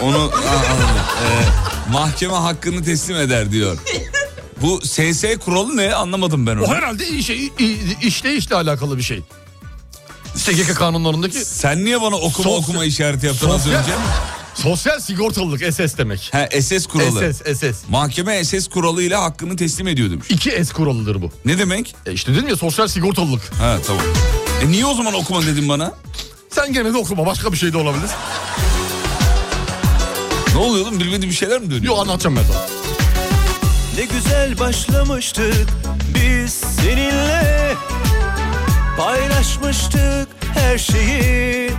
Onu ha, anladım. Eee, mahkeme hakkını teslim eder diyor. Bu SS kuralı ne anlamadım ben onu. O herhalde işe, i- i- işle işle alakalı bir şey. SGK kanunlarındaki Sen niye bana okuma Sosyal- okuma işareti yaptın az Sosyal- önce? (laughs) sosyal sigortalılık SS demek. He SS kuralı. SS, SS. Mahkeme SS kuralıyla hakkını teslim ediyor demiş. 2S kuralıdır bu. Ne demek? E işte dedim ya sosyal sigortalılık. Ha tamam. E niye o zaman okuma dedin bana? Sen gene de okuma başka bir şey de olabilir. Ne oluyor oğlum bilmediğim bir şeyler mi dönüyor? Yok anlatacağım ben sana. Ne güzel başlamıştık biz seninle Paylaşmıştık her şeyi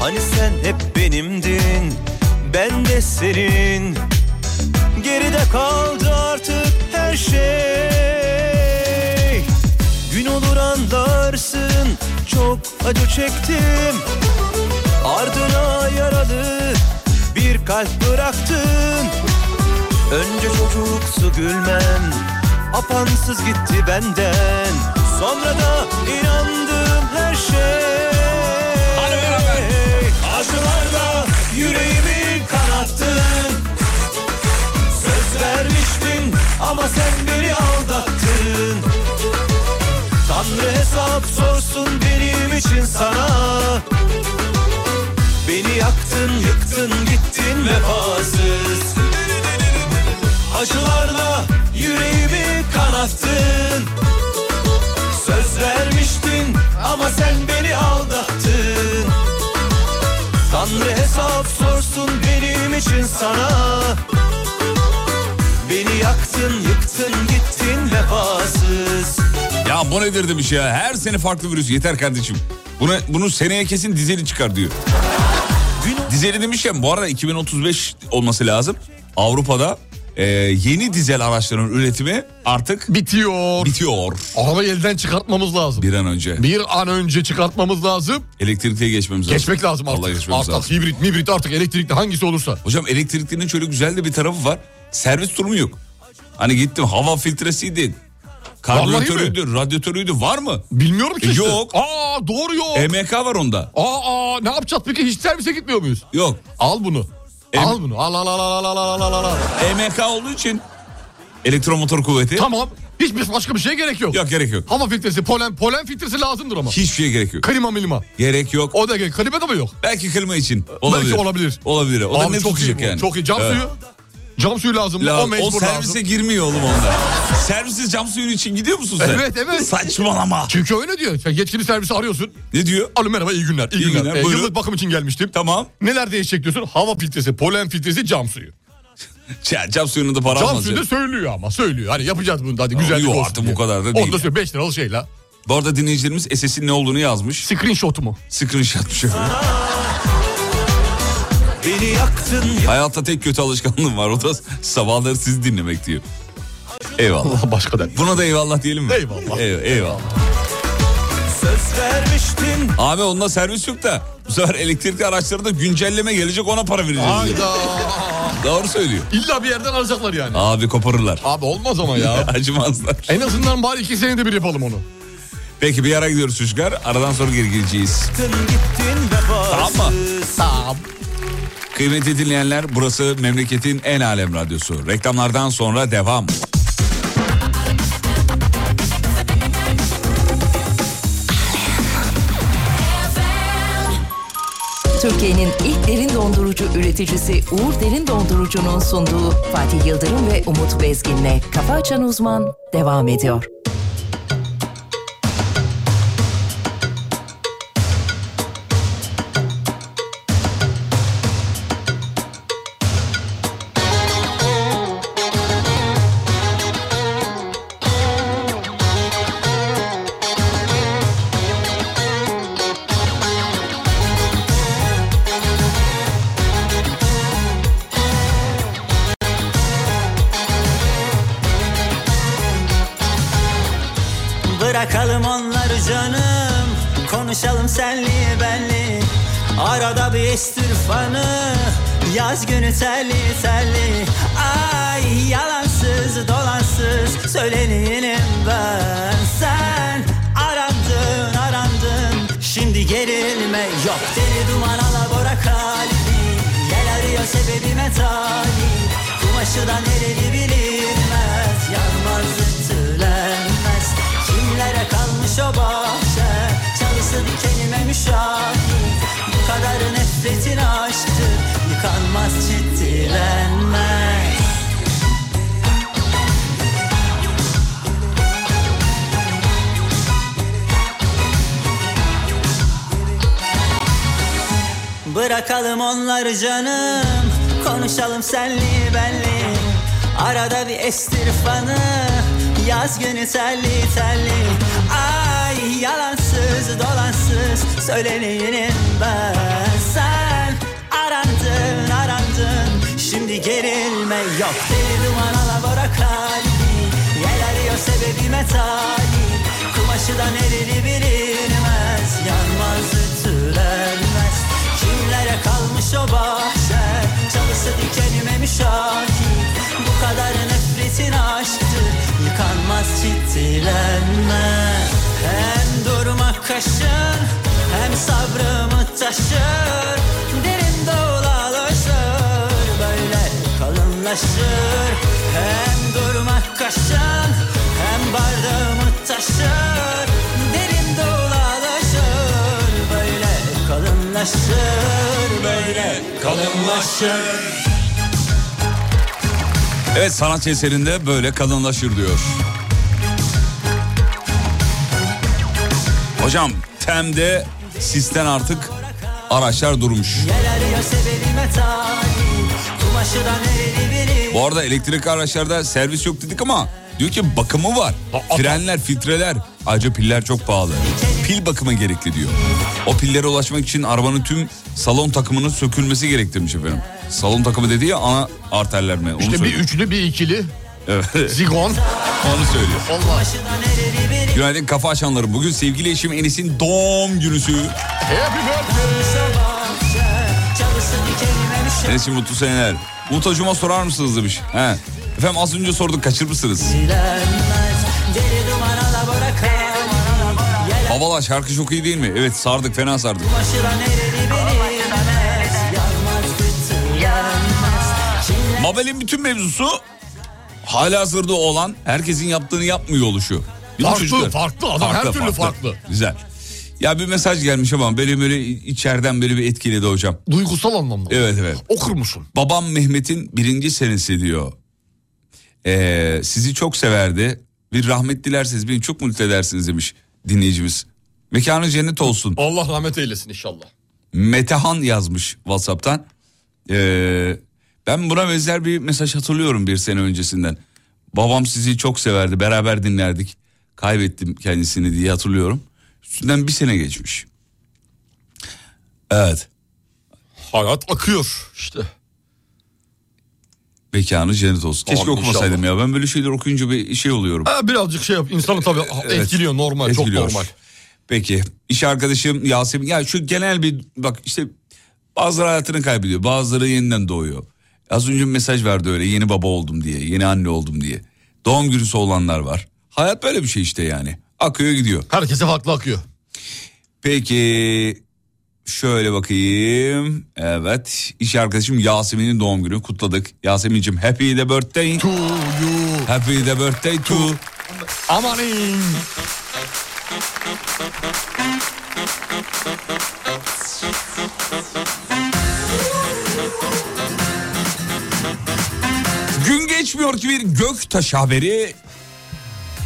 Hani sen hep benimdin ben de senin Geride kaldı artık her şey Gün olur anlarsın çok acı çektim Ardına yaralı bir kalp bıraktın Önce çocuksu gülmem Apansız gitti benden Sonra da inandım her şey Hadi beraber. Acılarla yüreğimi kanattın Söz vermiştin ama sen beni aldattın Tanrı hesap sorsun benim için sana Beni yaktın yıktın gittin vefasız Acılarla yüreğimi kanattın Söz vermiştin ama sen beni aldattın Tanrı hesap sorsun benim için sana Beni yaktın yıktın gittin vefasız Ya bu nedir demiş ya. Her sene farklı virüs yeter kardeşim. Buna, bunu seneye kesin dizeli çıkar diyor. Dizeli demişken bu arada 2035 olması lazım. Avrupa'da e, yeni dizel araçların üretimi artık Bitiyor. bitiyor. Arabayı elden çıkartmamız lazım. Bir an önce. Bir an önce çıkartmamız lazım. Elektrikliye geçmemiz lazım. Geçmek lazım Vallahi artık. geçmemiz Artık lazım. hibrit, mibrit artık elektrikli hangisi olursa. Hocam elektriklinin şöyle güzel de bir tarafı var. Servis durumu yok. Hani gittim hava filtresiydi. Karbüratörüydü, radyatörüydü var mı? Bilmiyorum ki. E, işte. yok. E Aa doğru yok. EMK var onda. aa, aa, ne yapacağız peki hiç servise gitmiyor muyuz? Yok. Al bunu. Em- al bunu. Al al al al al al al al al. EMK olduğu için elektromotor kuvveti. Tamam. Hiçbir başka bir şeye gerek yok. Yok gerek yok. Hava filtresi, polen, polen filtresi lazımdır ama. Hiçbir şeye gerek yok. Klima milima. Gerek yok. O da gerek. Klima da mı yok? Belki klima için. Olabilir. Belki olabilir. Olabilir. O da Abi ne çok iyi tutacak bu. yani. Çok iyi. Cam Evet. suyu. Cam suyu lazım. La, o o mecbur servise lazım. girmiyor oğlum onlar. Servise cam suyun için gidiyor musun sen? Evet, evet. Saçmalama. Çünkü öyle diyor. Sen yetkili servisi arıyorsun. Ne diyor? Alo merhaba iyi günler. İyi, İyi günler. günler, Ee, buyurun. yıllık bakım için gelmiştim. Tamam. Neler değişecek diyorsun? Hava filtresi, polen filtresi, cam suyu. Ya, Şey, Cam suyunu da para Cam almaz suyu ya. da söylüyor ama söylüyor. Hani yapacağız bunu da hadi güzel yok artık bu kadar da değil Onu da ya. söylüyor 5 liralık şeyle. Bu arada dinleyicilerimiz SS'in ne olduğunu yazmış. Screenshot mu? Screenshot bir şey. Beni yaktın Hayatta tek kötü alışkanlığım var. O da sabahları sizi dinlemek diyor. Eyvallah. Allah başka der. Buna da eyvallah diyelim mi? Eyvallah. Eyvallah. eyvallah. söz vermiştin Abi onda servis yok da bu sefer elektrikli araçlarda güncelleme gelecek ona para vereceğiz. diyor. Hayda. Doğru söylüyor. İlla bir yerden alacaklar yani. Abi koparırlar. Abi olmaz ama ya. (laughs) Acımazlar. en azından bari iki senede bir yapalım onu. Peki bir ara gidiyoruz çocuklar. Aradan sonra geri geleceğiz. gittin vefasız Tamam mı? Tamam. Kıymetli dinleyenler burası memleketin en alem radyosu. Reklamlardan sonra devam. Türkiye'nin ilk derin dondurucu üreticisi Uğur Derin Dondurucu'nun sunduğu Fatih Yıldırım ve Umut Bezgin'le Kafa Açan Uzman devam ediyor. Bırakalım onları canım Konuşalım senli benli Arada bir istirfanı Yaz günü telli telli Ay yalansız dolansız Söyleneyim ben Sen arandın arandın Şimdi gerilme yok Deli duman alabora kalbim Gel arıyor sebebime talim Kumaşı da nereli bilinmez Yanmaz ütülenmez Kimlere kalmış o bahçe Çalısı dikenime müşahit Bu kadar nefretin aşktı Yıkanmaz ciddilenmez Bırakalım onları canım Konuşalım senli benli Arada bir estirfanı Yaz günü telli telli Ay yalansız dolansız Söyleneyim ben Sen arandın arandın Şimdi gerilme yok Deli duman alabora kalbi Yel arıyor sebebime talip Kumaşı da nereli bilinmez Yanmaz ütülenmez Kimlere kalmış o bahçe Çalısı dikenime müşahit Bu kadar nefretin aşktı Yıkanmaz ciddilenme Hem durmak kaşın Hem sabrımı taşır Derin dolalaşır Böyle kalınlaşır Hem durmak kaşın Hem bardağımı taşır Derin dolalaşır Böyle kalınlaşır Böyle kalınlaşır Evet sanat eserinde böyle kalınlaşır diyor. Hocam Tem'de sisten artık araçlar durmuş. Gel arıyor sebebime talip Kumaşı da nereli biri Bu arada elektrikli araçlarda servis yok dedik ama diyor ki bakımı var. Frenler, filtreler, ayrıca piller çok pahalı. Pil bakımı gerekli diyor. O pillere ulaşmak için arabanın tüm salon takımının sökülmesi gerektirmiş efendim. Salon takımı dediği ya ana arterler mi? Onu İşte bir söylüyor. üçlü bir ikili. (laughs) Evet, Zigon. onu söylüyor. Allah. Günaydın kafa açanlarım. Bugün sevgili eşim Enis'in doğum günüsü. Happy birthday. Çalısı dikenime bir şey Enes'im mutlu seneler. Umut Hacım'a sorar mısınız demiş. He. Efendim az önce sorduk kaçırmışsınız. dilenmez Deli duman alabora kalbi Gel Havalar şarkı çok iyi değil mi? Evet sardık fena sardık. kumaşı da nereli biri Yanmaz bütün yanmaz Kimler Mabel'in bütün mevzusu hala hazırda olan herkesin yaptığını yapmıyor oluşu. Değil mi Farklı, çocuklar? farklı. Adam her türlü farklı. Güzel. Ya bir mesaj gelmiş ama beni böyle içeriden böyle bir etkiledi hocam. Duygusal anlamda. Evet evet. Okur musun? Babam Mehmet'in birinci senesi diyor. Ee, sizi çok severdi. Bir rahmet dilerseniz beni çok mutlu edersiniz demiş dinleyicimiz. Mekanı cennet olsun. Allah rahmet eylesin inşallah. Metehan yazmış Whatsapp'tan. Ee, ben buna benzer bir mesaj hatırlıyorum bir sene öncesinden. Babam sizi çok severdi beraber dinlerdik. Kaybettim kendisini diye hatırlıyorum. Üstünden bir sene geçmiş. Evet. Hayat akıyor işte. Mekanı cennet olsun. Keşke Abi okumasaydım ya. Ben böyle şeyler okuyunca bir şey oluyorum. Ha, birazcık şey yap. insanı tabii Evet. etkiliyor normal. Etkiliyor. Çok normal. Peki iş arkadaşım Yasemin ya şu genel bir bak işte bazıları hayatını kaybediyor bazıları yeniden doğuyor. Az önce bir mesaj verdi öyle yeni baba oldum diye yeni anne oldum diye. Doğum günüsü olanlar var. Hayat böyle bir şey işte yani akıyor gidiyor. Herkese farklı akıyor. Peki Şöyle bakayım. Evet. iş arkadaşım Yasemin'in doğum günü kutladık. Yasemin'cim happy the birthday. To you. Happy the birthday to. Amanin. Gün geçmiyor ki bir göktaş haberi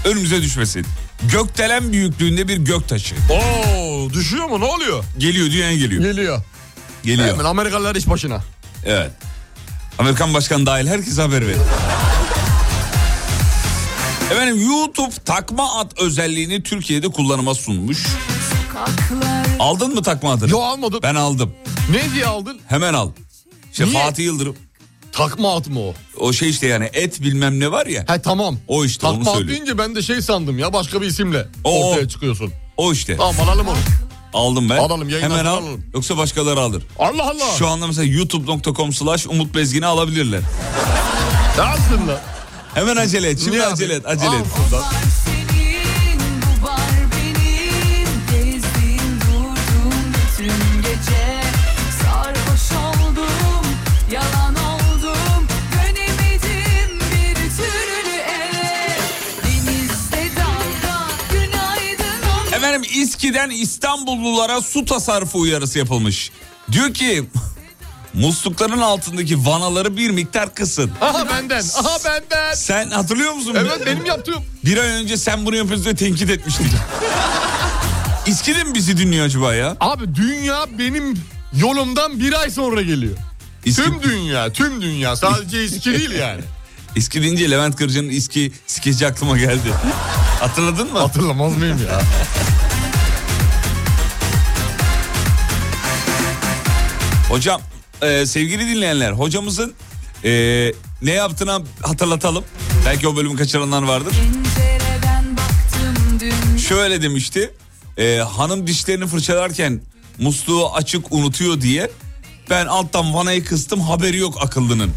önümüze düşmesin. Gökdelen büyüklüğünde bir göktaşı. Oo düşüyor mu ne oluyor? Geliyor dünyaya geliyor. Geliyor. Geliyor. Hemen Amerikalılar iş başına. Evet. Amerikan başkanı dahil herkes haber verir. Efendim YouTube takma at özelliğini Türkiye'de kullanıma sunmuş. Aldın mı takma adını? Yo almadım. Ben aldım. Ne diye aldın? Hemen al. İşte Niye? Fatih Yıldırım. Takma at mı o? O şey işte yani et bilmem ne var ya. He tamam. O işte onu Takma at söylüyor. deyince ben de şey sandım ya başka bir isimle Oo. ortaya çıkıyorsun. O işte. Tamam alalım onu. Aldım ben. Alalım, yayından Hemen al. sonra alalım. Yoksa başkaları alır. Allah Allah. Şu anda mesela youtube.com slash Umut Bezgin'i alabilirler. Ne yaptın lan? Hemen acele et. Şimdi Ne acele yapayım? et. Acele Al et. buradan. Var senin, bu var benim. Gezdin, durdun bütün gece. Sarhoş oldum, yalan oldum. Dönemedim bir türlü eve. Denizde dalga, günaydın o Efendim İSKİ'den İstanbullulara su tasarrufu uyarısı yapılmış. Diyor ki (laughs) muslukların altındaki vanaları bir miktar kısın. Aha benden. Aha benden. Sen hatırlıyor musun? Evet benim yaptığım. Bir ay önce sen bunu yapıyorsun diye tenkit etmiştik. İSKİ'de mi bizi dinliyor acaba ya? Abi dünya benim yolumdan bir ay sonra geliyor. İSKİ, Tüm dünya, tüm dünya. (laughs) Sadece İSKİ değil yani. İSKİ deyince Levent Kırca'nın İSKİ skeci aklıma geldi. Hatırladın mı? Hatırlamaz mıyım ya? Hocam e, sevgili dinleyenler hocamızın e, ne yaptığını hatırlatalım. Belki o bölümü kaçıranlar vardır. pencereden baktım dün. Şöyle demişti. e, hanım dişlerini fırçalarken musluğu açık unutuyor diye ben alttan vanayı kıstım haberi yok akıllının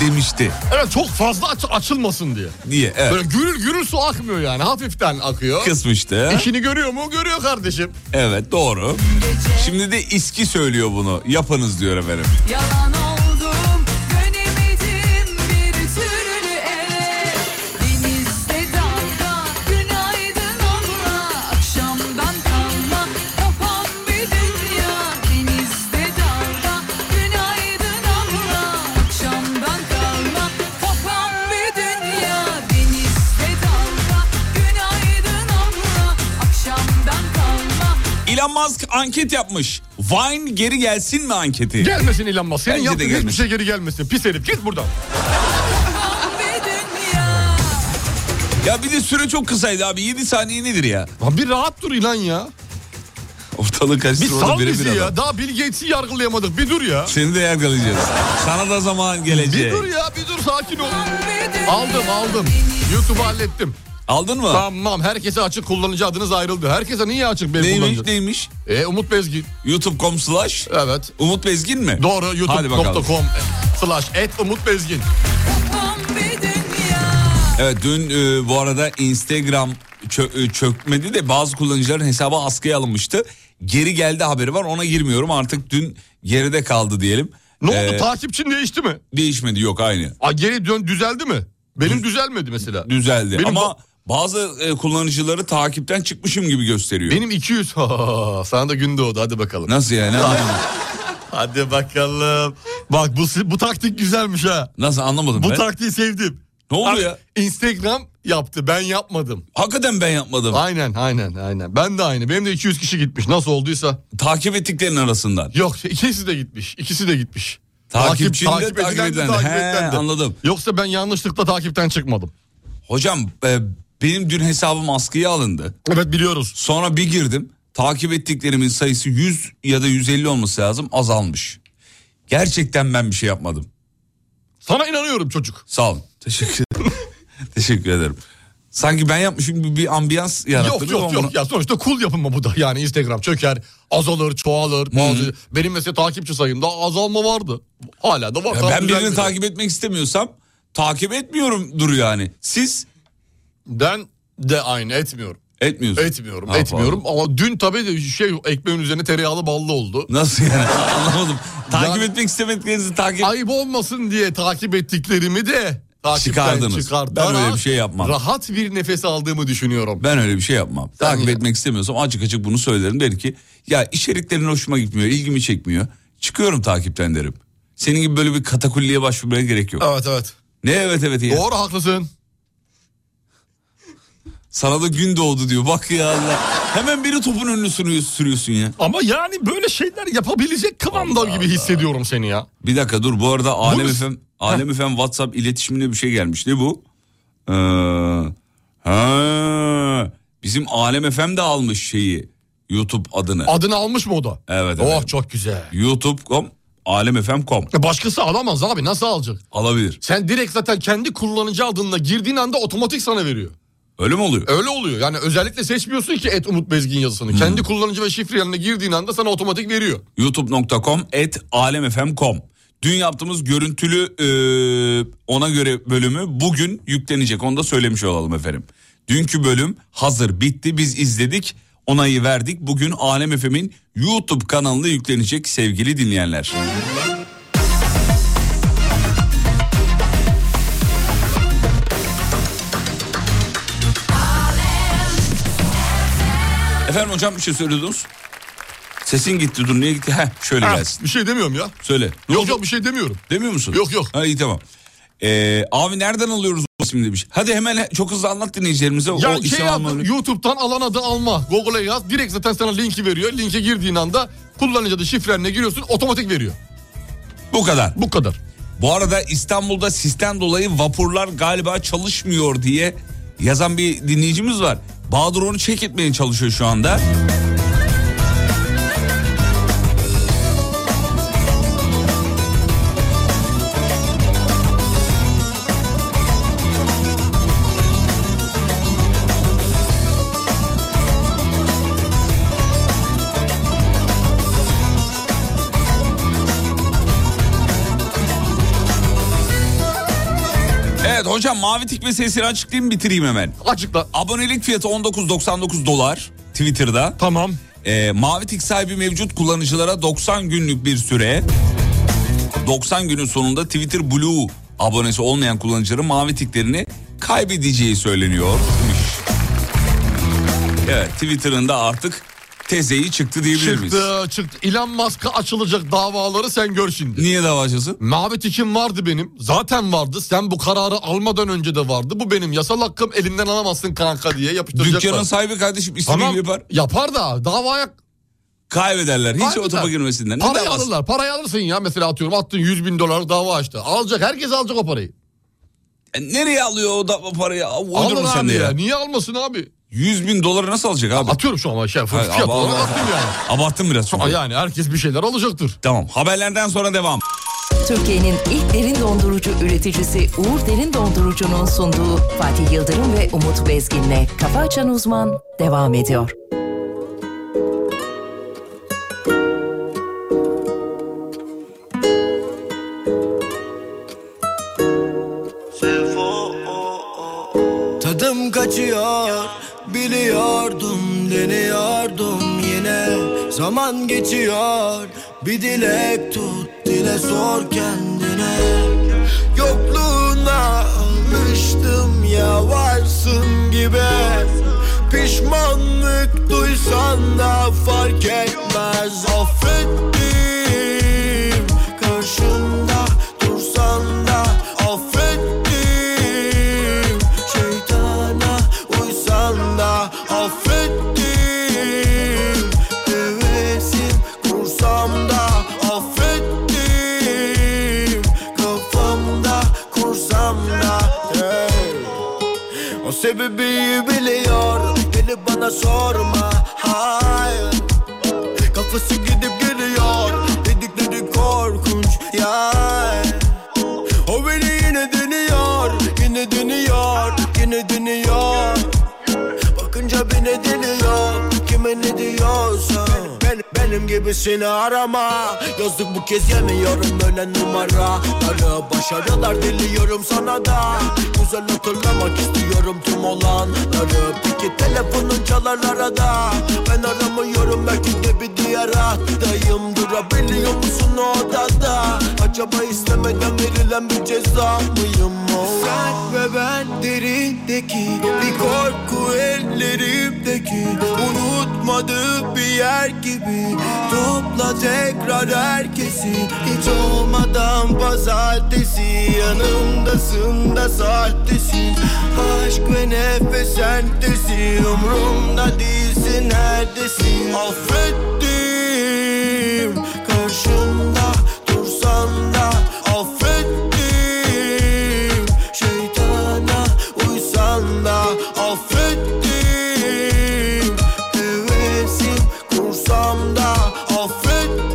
demişti Evet çok fazla aç- açılmasın diye. diye. Evet. Böyle gürül gürül su akmıyor yani. Hafiften akıyor. Kısmıştı. İşini görüyor mu? Görüyor kardeşim. Evet doğru. Şimdi de iski söylüyor bunu. Yapınız diyor efendim. Yalan oldum, dönemedim bir türlü eve. Denizde dalga, günaydın ona. Akşamdan kalma, kapan bir dünya. Denizde dalga, günaydın ona. Akşamdan kalma, kapan bir dünya. Denizde dalga, günaydın ona. Akşamdan kalma. Elon Musk anket yapmış. Vine geri gelsin mi anketi? Gelmesin Elon Musk. Senin Bence de yaptığın hiçbir gelmesin. şey geri gelmesin. Pis herif git buradan. Bir dünya. Ya bir de süre çok kısaydı abi. 7 saniye nedir ya? Lan bir rahat dur ilan ya. Ortalığı Bir karıştırmadı sal biri bizi bir adam. ya. Daha Bill Gates'i yargılayamadık. Bir dur ya. Seni de yargılayacağız. Sana da zaman Bir gelecek. dur ya. Bir dur sakin ol. Aldım aldım. YouTube'u hallettim. Aldın mı? Tamam herkese açık kullanıcı adınız ayrıldı. Herkese niye açık benim Neymiş kullanıcı? neymiş? E, Umut Bezgin. YouTube.com slash Evet. Umut Bezgin mi? Doğru Hadi bakalım. youtube.com slash et Umut Bezgin. Tam bir dünya. Evet dün e, bu arada Instagram çö- e, çökmedi de bazı kullanıcıların hesabı askıya alınmıştı. Geri geldi haberi var ona girmiyorum artık dün geride kaldı diyelim. Ne Ee, oldu takipçin değişti mi? Değişmedi yok aynı Aa, geri dön düzeldi mi? Benim düzelmedi mesela. düzeldi Benim ama ba- bazı e, kullanıcıları takipten çıkmışım gibi gösteriyor. Benim (laughs) 200. Sana da gün doğdu hadi bakalım. Nasıl yani anlamadım. (laughs) Hadi bakalım. Bak bu bu taktik güzelmiş ha. Nasıl anlamadım Bu ben. taktiği sevdim. Ne oldu Abi, ya? Instagram yaptı ben yapmadım. Hakikaten ben yapmadım. Aynen aynen aynen. Ben de aynı. Benim de 200 kişi gitmiş nasıl olduysa. Takip ettiklerinin arasından. Yok şey, ikisi de gitmiş. İkisi de gitmiş. Takipçin de, takip takip edilen de, edilen de. takip He, edilen de. anladım. Yoksa ben yanlışlıkla takipten çıkmadım. Hocam e, benim dün hesabım askıya alındı. Evet biliyoruz. Sonra bir girdim. Takip ettiklerimin sayısı 100 ya da 150 olması lazım azalmış. Gerçekten ben bir şey yapmadım. Sana inanıyorum çocuk. Sağ olun. Teşekkür (laughs) ederim. Teşekkür ederim. Sanki ben yapmışım gibi bir ambiyans yarattınız Yok yok ama yok bunu- ya sonuçta kul yapımı bu da yani Instagram çöker azalır çoğalır bazı benim mesela takipçi sayımda azalma vardı hala da var. Ya Tam ben birini düzelmedi. takip etmek istemiyorsam takip etmiyorum duruyor yani. Siz ben de aynı etmiyorum. Etmiyorsun. Etmiyorum, Ha, etmiyorum. Ama dün tabii de şey ekmeğin üzerine tereyağlı ballı oldu. Nasıl yani (laughs) anlamadım. Takip Yani- etmek istemediklerinizi takip... Ayıp olmasın diye takip ettiklerimi de takipten Çıkardınız. çıkartarak Ben öyle bir şey yapmam. Rahat bir nefes aldığımı düşünüyorum. Ben öyle bir şey yapmam. Sen takip ya. etmek istemiyorsam açık açık bunu söylerim. Der ki ya içeriklerin hoşuma gitmiyor, ilgimi çekmiyor. Çıkıyorum takipten derim. Senin gibi böyle bir katakulliye başvurmaya gerek yok. Evet evet. Ne evet evet ya. Doğru haklısın. Sana da gün doğdu diyor. Bak ya Allah. Hemen biri topun önüne sürüyor- sürüyorsun ya. Ama yani böyle şeyler yapabilecek kıvamda gibi hissediyorum seni ya. Bir dakika dur bu arada Alem Bunu- Efem Alem Efem WhatsApp iletişimine bir şey gelmiş. Ne bu? Ee, ha, bizim Alem Efem de almış şeyi YouTube adını. Adını almış mı o da? Evet, Oh evet. çok güzel. YouTube.com alemfm.com E Başkası alamaz abi nasıl alacak? alabilir. Sen direkt zaten kendi kullanıcı adınla girdiğin anda otomatik sana veriyor. Öyle mi oluyor? Hmm. Öyle oluyor. Yani özellikle seçmiyorsun ki et Umut Bezgin yazısını. Kendi kullanıcı ve şifre yanına girdiğin anda sana otomatik veriyor. youtube.com et alemfm.com Dün yaptığımız görüntülü e, ona göre bölümü bugün yüklenecek. Onu da söylemiş olalım efendim. Dünkü bölüm hazır bitti. Biz izledik. Onayı verdik. Bugün Alem Efem'in YouTube kanalına yüklenecek sevgili dinleyenler. Efendim hocam bir şey söylüyordunuz. Sesin gitti dur niye gitti? Heh şöyle gelsin. Bir şey demiyorum ya. Söyle. Ne Yok oldu? yok bir şey demiyorum. Demiyor musun? Yok, yok. Ha iyi tamam. Ee, abi nereden alıyoruz o ismi demiş. Hadi hemen he- çok hızlı anlat dinleyicilerimize o Ya isim şey alma- adı, YouTube'dan alan adı alma. Google'a yaz. Direkt zaten sana linki veriyor. Linke girdiğin anda kullanıcı adı şifrenle giriyorsun otomatik veriyor. Bu kadar. Bu kadar. Bu arada İstanbul'da sistem dolayı vapurlar galiba çalışmıyor diye yazan bir dinleyicimiz var. Bahadır onu çek etmeye çalışıyor şu anda. Evet hocam mavi tik meselesini açıklayayım bitireyim hemen. Açıkla. Abonelik fiyatı 19.99 dolar Twitter'da. Tamam. Ee, mavi tik sahibi mevcut kullanıcılara 90 günlük bir süre. 90 günün sonunda Twitter Blue abonesi olmayan kullanıcıların mavi tiklerini kaybedeceği söyleniyor. Evet Twitter'ın da artık tezeyi çıktı diyebilir miyiz? Çıktı çıktı. Elon Musk'a açılacak davaları sen gör şimdi. Niye dava açıyorsun? Mavi tikim vardı benim. Zaten vardı. Sen bu kararı almadan önce de vardı. Bu benim yasal hakkım elimden alamazsın kanka diye yapıştıracaklar. Dükkanın sahibi kardeşim istediği Tamam, gibi yapar. Yapar da davaya Kaybederler. Hiç Kaybeder. otoma girmesinler. Ne parayı davası? alırlar. Parayı alırsın ya mesela atıyorum attın 100 bin dolar dava açtı. Alacak herkes alacak o parayı. E, Nereye alıyor o da o parayı? Uydurma Alır sen abi de ya. ya. Niye almasın abi? 100 bin doları nasıl alacak abi? Atıyorum şu an şey fırt Hayır, fiyat abi, olarak abi. attım yani. Abarttım biraz çünkü. Ama yani herkes bir şeyler alacaktır. Tamam haberlerden sonra devam. Türkiye'nin ilk derin dondurucu üreticisi Uğur Derin Dondurucu'nun sunduğu Fatih Yıldırım ve Umut Bezgin'le Kafa Açan Uzman devam ediyor. Tadım kaçıyor biliyordum deniyordum yine Zaman geçiyor bir dilek tut dile sor kendine Yokluğuna almıştım ya varsın gibi Pişmanlık duysan da fark etmez Affettim karşımda dursan da affettim Şeytana uysan da affettim Hevesim kursam da affettim Kafamda kursam da hey. O sebebi biliyor Gelip bana sorma Hayır Kafası gidip geliyor Dedikleri korkunç ya O beni yine dönüyor Yine dönüyor Yine dönüyor Bakınca beni deniyor Kime ne diyorsa Beni, beni, benim gibisini arama Yazdık bu kez yemiyorum öyle numara Ara başarılar diliyorum sana da Güzel hatırlamak istiyorum tüm olanları Peki telefonun çalar arada Ben aramıyorum belki de bir diğer hattayım Durabiliyor musun o odada Acaba istemeden verilen bir ceza mıyım o? Sen ve ben derindeki Bir korku ellerimdeki Unutmadık bir yer gibi Topla tekrar herkesi Hiç olmadan pazartesi Yanımdasın da sahtesin Aşk ve nefes sentesin Umrumda değilsin neredesin Affettim Karşımda dursan da Affettim Şeytana uysan da Affettim Hevesim kursam da Affettim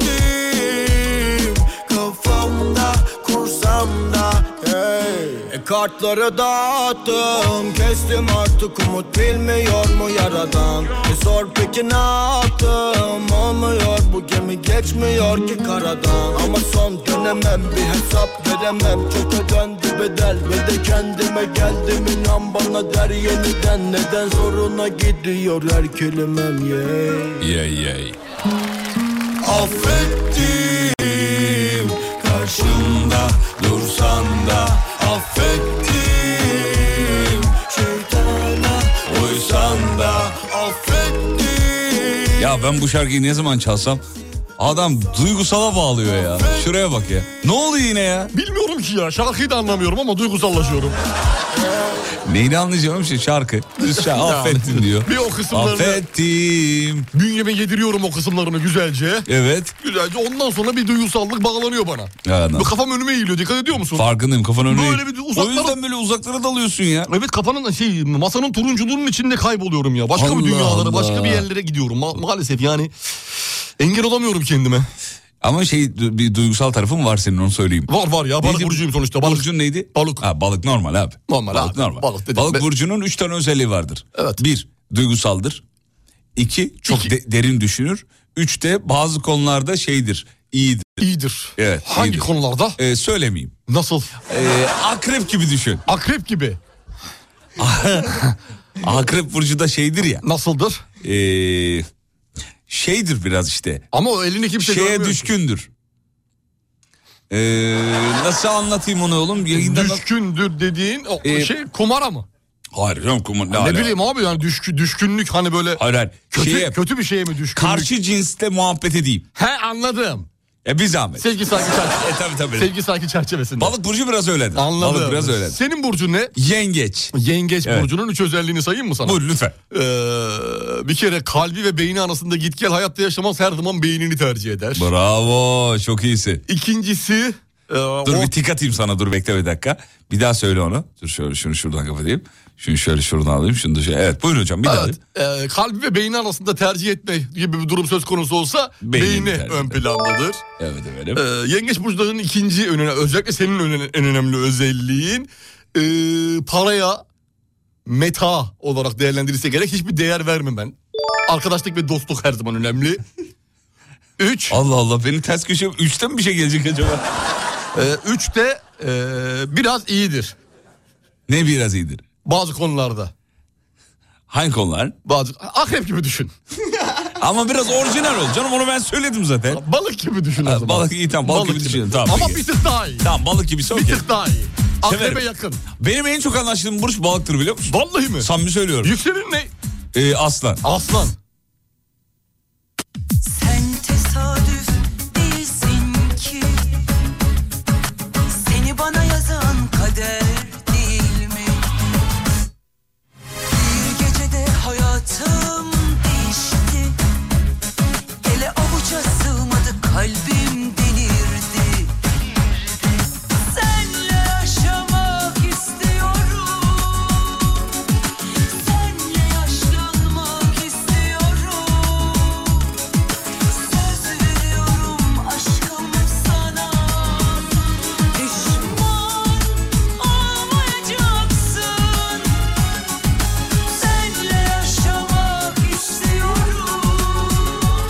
Kafamda kursam da hey. E, Kartları dağıttım Kestim artık umut bilmiyor mu yaradan E sor peki ne yaptım Olmuyor bu gemi geçmiyor ki karadan Ama son dönemem bir hesap veremem Çok ödendi bedel ve de kendime geldim inan bana der yeniden Neden zoruna gidiyor her kelimem yeah. Yay yay. Affettim Karşımda dursan da Affettim Şeytana uysan da Affettim Ya ben bu şarkıyı ne zaman çalsam adam duygusala bağlıyor ya. Şuraya bak ya. Ne oluyor yine ya? Bilmiyorum ki ya şarkıyı da anlamıyorum ama duygusallaşıyorum. Neyini anlayacağım şey şarkı. (laughs) Düz şarkı. Affettim diyor. Bir o kısımlarını- Affettim. Bünyeme yediriyorum o kısımlarını güzelce. Evet. Güzelce ondan sonra bir duygusallık bağlanıyor bana. Yani. Bu kafam önüme eğiliyor dikkat ediyor musun? Farkındayım kafanın önüne. Böyle bir uzaklara- O yüzden böyle uzaklara dalıyorsun ya. Evet kafanın şey masanın turunculuğunun içinde kayboluyorum ya. Başka Allah bir dünyalara, Allah. başka bir yerlere gidiyorum. Ma- maalesef yani engel olamıyorum kendime. Ama şey du- bir duygusal tarafım var senin onu söyleyeyim. Var var ya balık Neydi? burcuyum sonuçta. Balık. Burcun neydi? Balık. Ha, balık normal abi. Normal balık abi. Normal. Balık Balık, dedim. Ben- burcunun üç tane özelliği vardır. Evet. Bir, duygusaldır. İki, çok İki. de- derin düşünür. Üç de bazı konularda şeydir, iyidir. İyidir. Evet, Hangi iyidir. konularda? Ee, söylemeyeyim. Nasıl? Ee, akrep gibi düşün. Akrep gibi. (laughs) Akrep burcu da şeydir ya. Nasıldır? ee, şeydir biraz işte. Ama o elini kimse şeye görmüyor. düşkündür. Ee, nasıl anlatayım onu oğlum? Yayında nasıl- Düşkündür dediğin o Ee, şey kumara mı? Hayır canım kumar ne, alaka? ne bileyim abi yani düşkü, düşkünlük hani böyle Hayır hayır. kötü, Şeye, kötü bir şeye mi düşkünlük? karşı cinsle muhabbet edeyim. He anladım. E bir zahmet. Sevgi saygı (laughs) E çerçevesinde. tabii tabii. Sevgi saygı çerçevesinde. Balık burcu biraz öyledir. Anladım. Balık biraz öyledir. Senin burcun ne? Yengeç. Yengeç Evet. burcunun üç özelliğini sayayım mı sana? Buyur lütfen. Ee, bir kere kalbi ve beyni arasında git gel hayatta yaşamaz her zaman beynini tercih eder. Bravo çok iyisin. İkincisi e, Dur o- bir tik atayım sana dur bekle bir dakika. Bir daha söyle onu. Dur şöyle şunu şuradan kapatayım. Şunu şöyle şuradan alayım şunu da şöyle. Evet buyurun hocam bir daha. Evet, e, kalbi ve beyni arasında tercih etme gibi bir durum söz konusu olsa Beynini beyni tercih ön eder. plandadır. Evet efendim. Ee, yengeç burçlarının ikinci önüne özellikle senin öne- en önemli özelliğin e, paraya meta olarak değerlendirirse gerek hiçbir değer vermem ben. Arkadaşlık ve dostluk her zaman önemli. Üç, Allah Allah beni ters köşe üçten mi bir şey gelecek acaba? e, üç de e, biraz iyidir ne biraz iyidir. bazı konularda. Hangi konular? Bazı akrep gibi düşün. Ama biraz orijinal ol canım onu ben söyledim zaten. Balık gibi düşün. o Ha, zaman. balık iyi, tamam, balık gibi düşünelim, tamam, Ama peki. bir tık daha iyi. Tamam balık gibisi Bir okey. tık daha iyi. Akrebe Severim. yakın. Benim en çok anlaştığım burç balıktır biliyor musun? Vallahi mi? Samimi söylüyorum. Yükselenin ne? Ee, aslan. Aslan. Sen tesadüf değilsin ki Seni bana yazan kader değil mi? Bir gecede hayatım değişti Ele avuca sığmadı kalbim delirdi Senle yaşamak istiyorum Senle yaşlanmak istiyorum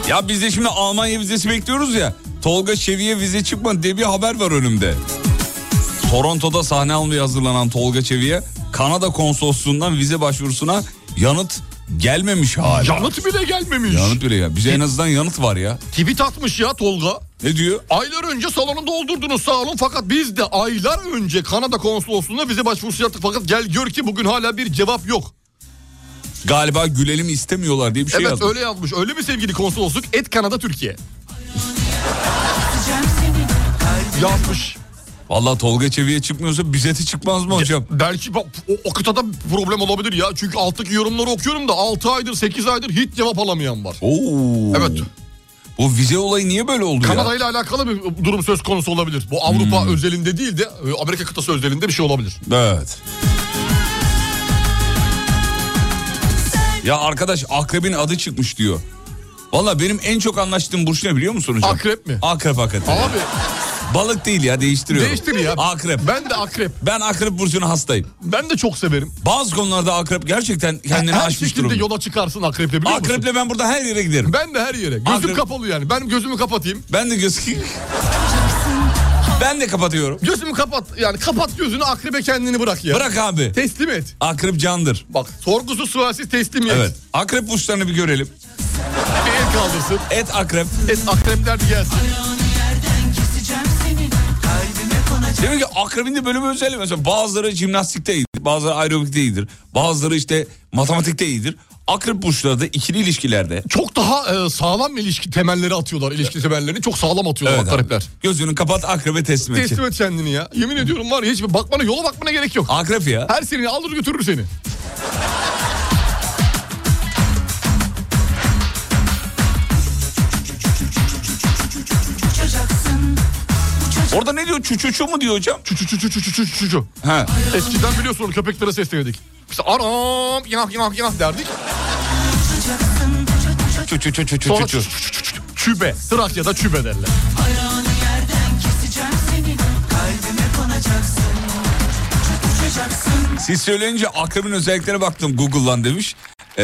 Ya biz de şimdi Almanya vizesi bekliyoruz ya. Tolga Çevik'e vize çıkma diye bir haber var önümde. Toronto'da sahne almaya hazırlanan Tolga Çevik'e Kanada konsolosluğundan vize başvurusuna yanıt gelmemiş hala. Yanıt bile gelmemiş. Yanıt bile ya. Bize en azından yanıt var ya. Tweet atmış ya Tolga. Ne diyor? Aylar önce salonu doldurdunuz sağ olun fakat biz de aylar önce Kanada konsolosluğuna vize başvurusu yaptık fakat gel gör ki bugün hala bir cevap yok. Galiba gülelim istemiyorlar diye bir şey evet yazmış. öyle yazmış. Öyle mi sevgili konsolosluk? Et Kanada Türkiye. yazmış. Valla Tolga Çevik'e çıkmıyorsa bize de çıkmaz mı hocam? Belki bak, o, o kıtada problem olabilir ya. Çünkü alttaki yorumları okuyorum da 6 aydır 8 aydır hiç cevap alamayan var. Oo. Evet. Bu vize olayı niye böyle oldu Kanada ya? Hmm. ile alakalı bir durum söz konusu olabilir. Bu Avrupa özelinde değil de e, Amerika kıtası özelinde bir şey olabilir. Evet. Ya arkadaş akrebin adı çıkmış diyor. Valla benim en çok anlaştığım burç ne biliyor musun hocam? Akrep mi? Akrep hakikaten. Abi Balık değil ya değiştiriyorum. değiştir ya. Akrep. Ben, Ben de akrep. akrep burcuna hastayım. Ben de çok severim. Bazı konularda akrep gerçekten kendini her aşmış şekilde (laughs) durumda. yola çıkarsın akreple biliyor musun? Akreple ben burada her yere giderim. Ben de her yere. Gözüm Akrep- kapalı yani. Ben (laughs) gözümü kapatayım. Ben de göz... (laughs) ben de kapatıyorum. Gözümü kapat. Yani kapat gözünü akrebe kendini bırak ya. Bırak abi. Teslim et. Akrep candır. Bak sorgusu sualsiz teslimiyet. Evet. Akrep burçlarını bir görelim. Bir el kaldırsın. Et akrep. Et akrepler bir gelsin. Demek ki akrebin de böyle bir özelliği. Mesela bazıları jimnastikte iyidir, bazıları aerobikte iyidir, bazıları işte matematikte iyidir. Akrep burçları da ikili ilişkilerde. Çok daha e, sağlam ilişki temelleri atıyorlar. İlişki temellerini çok sağlam atıyorlar Evet abi. akrepler. Gözünü kapat akrebe teslim et. Teslim et kendini ya. Yemin ediyorum var ya hiçbir bakmana yola bakmana gerek yok. Akrep ya. Her seni alır götürür seni. Orada ne diyor? Çuçuçu mu diyor hocam? Çu çu çu çu çu çu çu çu çu. He. Eskiden E, biliyorsun onu köpeklere seslenirdik. İşte aram yanah yanah yanah derdik. Çuçu çuçu Sonra çuçu çü- çuçu. çü- çü- çü- çü- çübe. Trakya'da çübe derler. Siz söyleyince akrebin özelliklerine baktım Google'dan demiş. Ee,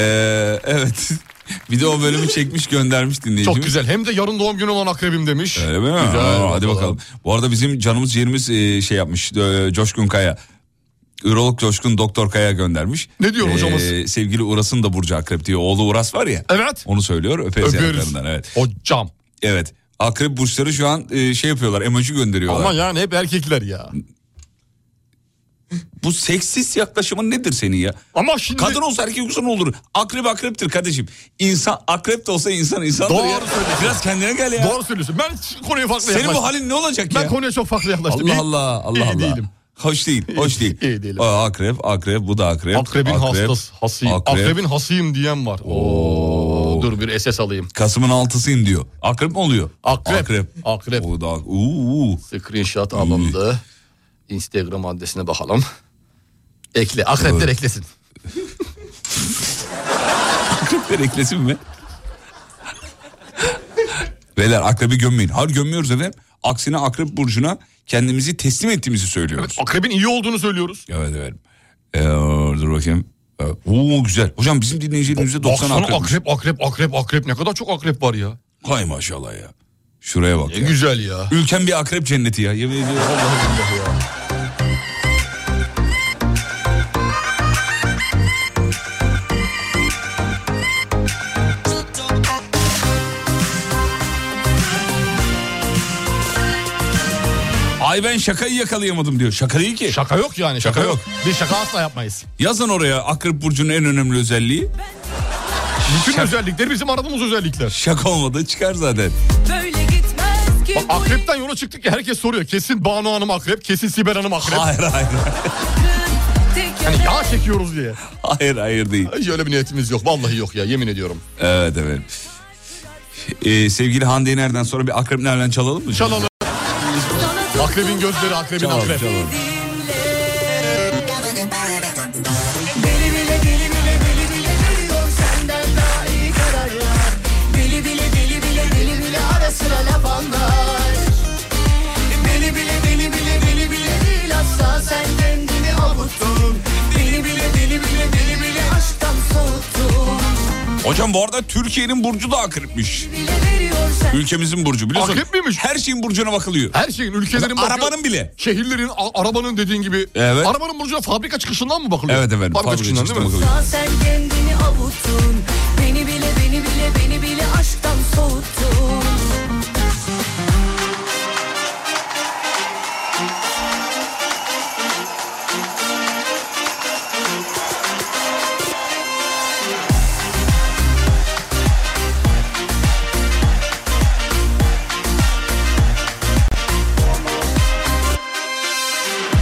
evet. (laughs) Bir de o bölümü çekmiş göndermiş dinleyicimiz. Çok güzel. Hem de yarın doğum günü olan akrebim demiş. Öyle mi? Güzel, Aa, hadi bakalım. bakalım. Bu arada bizim canımız ciğerimiz e, şey yapmış. e, Coşkun Kaya. Ürolog Coşkun Doktor Kaya göndermiş. Ne diyor Ee, hocamız? sevgili Uras'ın da Burcu Akrep diyor. Oğlu Uras var ya. Evet. Onu söylüyor. Öperiz Öpüyoruz. yanaklarından, Evet. Hocam. Evet. Akrep burçları şu an e, şey yapıyorlar. Emoji gönderiyorlar. Ama yani hep erkekler ya. Bu seksist yaklaşımın nedir senin ya? Ama şimdi Kadın olsa erkek olsa ne olur? Akrep akreptir kardeşim. İnsan akrep de olsa insan insandır Doğru ya. söylüyorsun. Biraz kendine gel ya. doğru söylüyorsun. Ben konuya farklı Senin yaklaştım. bu halin ne olacak Ben ya? konuya çok farklı yaklaştım. Allah İyi- Allah Allah iyi Allah. değilim. Hoş değil, hoş değil. İyi değilim. Aa, akrep, akrep, bu da akrep. Akrebin akrep, hastası, hasıyım. Akrep. Akrebin hasıyım diyen var. Oo. Dur bir SS alayım. Kasım'ın altısıyım diyor. Akrep mi oluyor? Akrep. Akrep. Akrep. O da, uuu. Screenshot alındı. Instagram adresine bakalım. Ekle. Akrepler eklesin. Akrepler eklesin mi? Beyler akrebi gömmeyin. Hayır gömmüyoruz efendim. Aksine akrep burcuna kendimizi teslim ettiğimizi söylüyoruz. Akrebin iyi olduğunu söylüyoruz. Evet efendim. Ee, dur bakayım. Ee, Oo güzel. Hocam bizim dinleyicilerimizde 90 Baksana akrep. akrep, akrep, akrep, akrep. Ne kadar çok akrep var ya. Hay maşallah ya. Şuraya bak Ne ya. güzel ya. Ülkem bir akrep cenneti ya. Yemin ediyorum. Ay ben şakayı yakalayamadım diyor. Şaka değil ki. Şaka yok yani şaka, Şaka yok. yok. Biz şaka asla yapmayız. Yazın oraya Akrep Burcu'nun en önemli özelliği. Bütün Şaka- özellikleri bizim aradığımız özellikler. Şaka olmadığı çıkar zaten. Böyle gitmez ki Bak bu akrepten yola çıktık ya herkes soruyor. Kesin Banu Hanım akrep, kesin Sibel Hanım akrep. Hayır hayır. tek Yani yağ çekiyoruz diye. Hayır hayır değil. Hiç öyle bir niyetimiz yok. Vallahi yok ya yemin ediyorum. Evet evet. Ee, sevgili Hande Yener'den sonra bir akrep nereden çalalım mı? Çalalım. Akrebin gözleri, akrebin Çalalım, akrep. çalalım. Deli bile deli bile deli bile veriyor senden daha iyi kararlar Deli bile deli bile deli bile ara sıra laf anlar Deli bile deli bile deli bile değil asla sen kendini avuttun Deli bile deli bile deli bile aşktan soğuttun Hocam bu arada Türkiye'nin burcu da akrepmiş. Ülkemizin burcu biliyorsun. Akrep miymiş? Her şeyin burcuna bakılıyor. Her şeyin ülkelerin bakıyor- Arabanın bile. Şehirlerin, a- arabanın dediğin gibi. Evet. Arabanın burcuna fabrika çıkışından mı bakılıyor? Evet efendim. Fabrika, Fabrika çıkışından değil mi? çıkışından bakılıyor. Daha sen kendini avuttun Beni bile beni bile beni bile aşktan soğuttun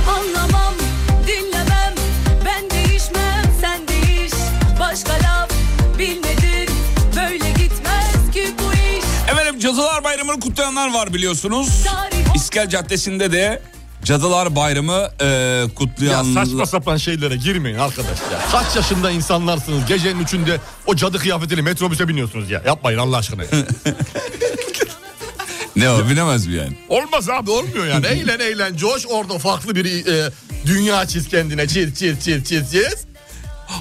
Anlamam, dinlemem, ben değişmem, sen değiş Başka laf bilmedin, böyle gitmez ki bu iş Efendim Cadılar Bayramı'nı kutlayanlar var biliyorsunuz. İskel Caddesi'nde de Cadılar Bayramı e, Ya kutlayanlar. saçma sapan şeylere girmeyin arkadaş ya. Kaç yaşında insanlarsınız gecenin üçünde o cadı kıyafetiyle metrobüse biniyorsunuz ya. Yapmayın Allah aşkına (laughs) ya. Ne o bilemez mi yani? Olmaz abi olmuyor yani. Eğlen eğlen coş orada farklı bir e, dünya çiz kendine. Çiz çiz çiz çiz çiz.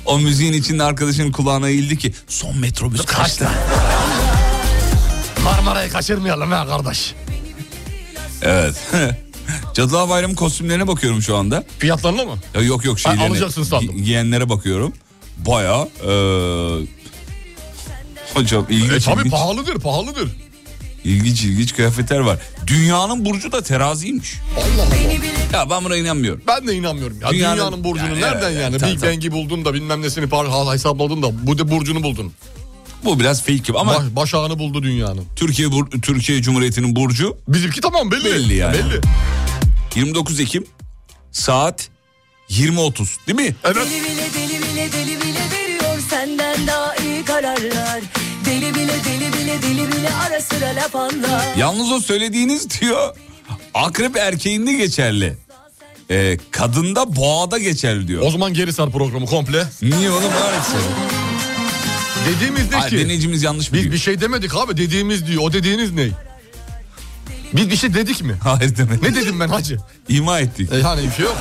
O müziğin içinde arkadaşın kulağına eğildi ki son metrobüs kaçta? Marmara'yı kaçırmayalım ha kardeş. Evet. (laughs) Cadılar Bayramı kostümlerine bakıyorum şu anda. Fiyatlarına mı? Ya yok yok Ha, şeylerine. alacaksın sandım. gi- giyenlere bakıyorum. Baya hocam E ilginç, tabii ilginç, pahalıdır pahalıdır. ilginç ilginç kıyafetler var. Dünyanın burcu da teraziymiş. Allah Allah. Ya ben buna inanmıyorum. Ben de inanmıyorum ya. Dünyanın, Dünyanın- burcunu Yani nereden evet, yani? evet, Big tabii, Bang'i buldun da bilmem nesini par hala hesapladın da bu da burcunu buldun. Bu biraz fake gibi ama Baş, baş ağını buldu dünyanın. Türkiye bur- Türkiye Cumhuriyeti'nin burcu Bizimki tamam belli. Belli yani. Belli. 29 Ekim saat 20.30 değil mi? Evet. Deli bile deli bile deli bile veriyor senden daha iyi kararlar Deli bile deli bile deli bile ara sıra laf anlar Yalnız o söylediğiniz diyor akrep erkeğinde geçerli. Ee, kadında boğada geçerli diyor. O zaman geri sar programı komple. Niye oğlum var etsin? Dediğimizde Hayır ki dinleyicimiz yanlış biliyor. biz bir şey demedik abi dediğimiz diyor. O dediğiniz ne? Biz bir şey dedik mi? Hayır demedik. Ne dedim ben hacı? İma ettik. E, yani bir şey yok.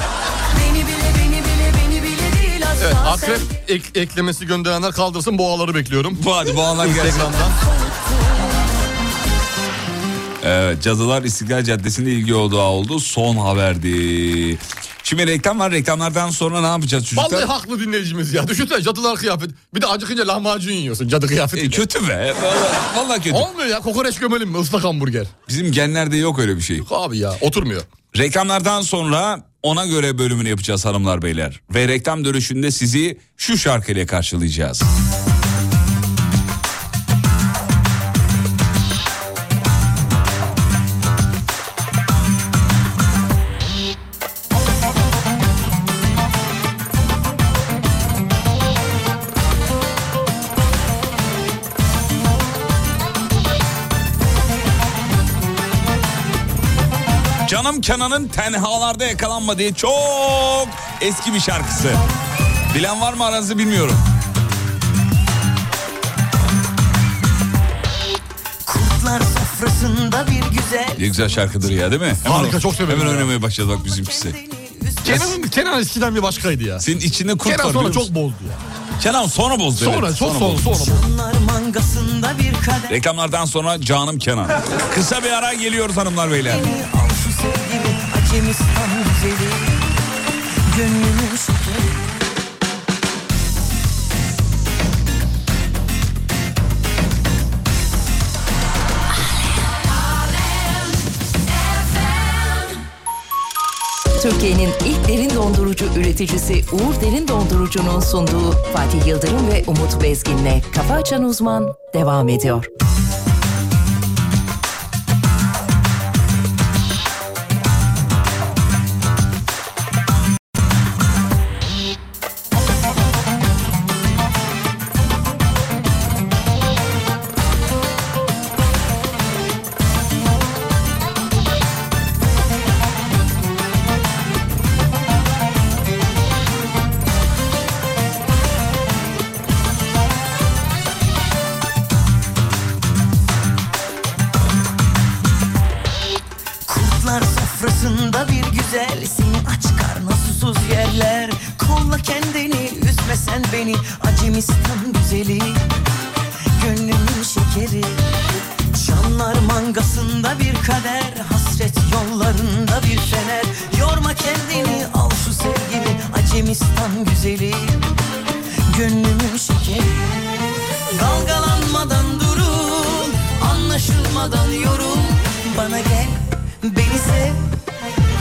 Beni bile beni bile beni bile değil asla Evet, sen akrep ek- eklemesi gönderenler kaldırsın boğaları bekliyorum. Bu hadi boğalar gelsin. Instagram'dan. Evet, Cadılar İstiklal Caddesi'nde ilgi odağı oldu. Son haberdi. Şimdi reklam var. Reklamlardan sonra ne yapacağız çocuklar? Vallahi haklı dinleyicimiz ya. Düşünsene cadılar kıyafet. Bir de acıkınca lahmacun yiyorsun cadı E, kıyafeti. kötü be. Vallahi, vallahi kötü. Olmuyor ya kokoreç gömelim mi ıslak hamburger. Bizim genlerde yok öyle bir şey. Abi ya oturmuyor. Reklamlardan sonra ona göre bölümünü yapacağız hanımlar beyler. Ve reklam dönüşünde sizi şu şarkıyla karşılayacağız. Canım Kenan'ın tenhalarda yakalanma diye çok eski bir şarkısı. Bilen var mı aranızda bilmiyorum. Kurtlar sofrasında bir güzel Ne güzel şarkıdır ya değil mi? Hemen Harika, çok severim Hemen ya. oynamaya başladı bak bizimkisi. Kenan, Kenan eskiden bir başkaydı ya. Senin içinde kurt Kenan var. sonra biliyor çok musun? bozdu ya. Kenan sonra bozdu. Sonra evet, çok sonra bozdu. sonra. bozdu. Bunlar mangasında bir kadeh Reklamlardan sonra canım Kenan. Kısa bir ara geliyoruz hanımlar beyler. Al şu sevgimi Hakemistan güzeli Gönlümü sütü Türkiye'nin ilk derin dondurucu üreticisi Uğur Derin Dondurucu'nun sunduğu Fatih Yıldırım ve Umut Bezgin'le Kafa Açan Uzman devam ediyor. Kurtlar sofrasında bir güzel Seni aç karna susuz yerler Kolla kendini üzme sen beni Acemistan güzeli Yunanistan güzeli Gönlümün şekeri Dalgalanmadan durul Anlaşılmadan yorul Bana gel beni sev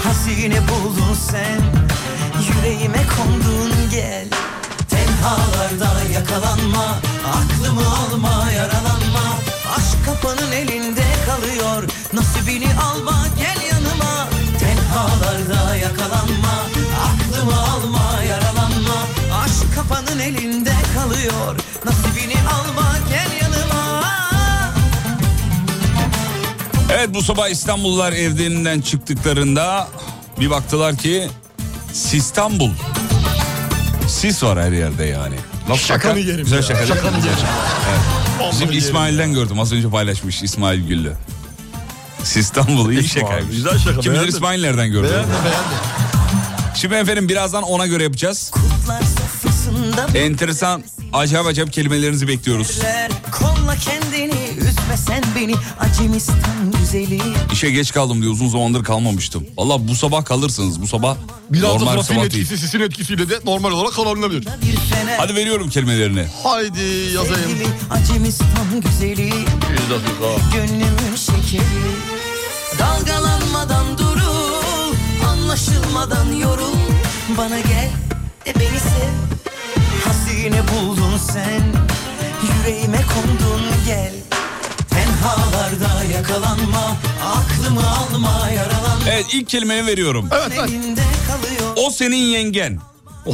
Hazine buldun sen Yüreğime kondun gel Tenhalarda yakalanma Aklımı alma yaralanma Aşk kapanın elinde kalıyor Nasibini alma gel yanıma Tenhalarda yakalanma Aklımı alma yaralanma Aşk kapanın elinde kalıyor Nasibini alma gel yanıma Evet bu sabah İstanbullular evlerinden çıktıklarında bir baktılar ki İstanbul. Sis var her yerde yani. Nasıl Şakanı yerim Güzel ya. şaka. değil mi? Şakanı yerim. Evet. Vallahi Bizim yerim İsmail'den gördüm. Az önce paylaşmış İsmail Güllü. İstanbul iyi İsmail, şaka. güzel şaka, Kim bilir beğendim. İsmail nereden gördü? Beğendim beğendim. Şimdi efendim birazdan ona göre yapacağız. Kutlar sofrasında Enteresan, acayip acayip kelimelerinizi bekliyoruz. Eller, Kolla kendini üzme sen beni Acemistan güzeli İşe geç kaldım diye uzun zamandır kalmamıştım. Valla bu sabah kalırsınız. Bu sabah Biraz normal da trafiğin sabah değil. etkisi, sisin etkisiyle de normal olarak kalabilir. bir fener Hadi veriyorum kelimelerini. Haydi yazayım. Sevgili Acemistan güzeli 100 dakika. Gönlümün şekeri Dalgalanmadan durul Anlaşılmadan yorul Bana gel de beni sev Hazine buldun sen Yüreğime kondun gel Tenhalarda yakalanma Aklımı alma yaralanma Evet ilk kelimeni veriyorum. Elinde kalıyor O senin yengen. (laughs)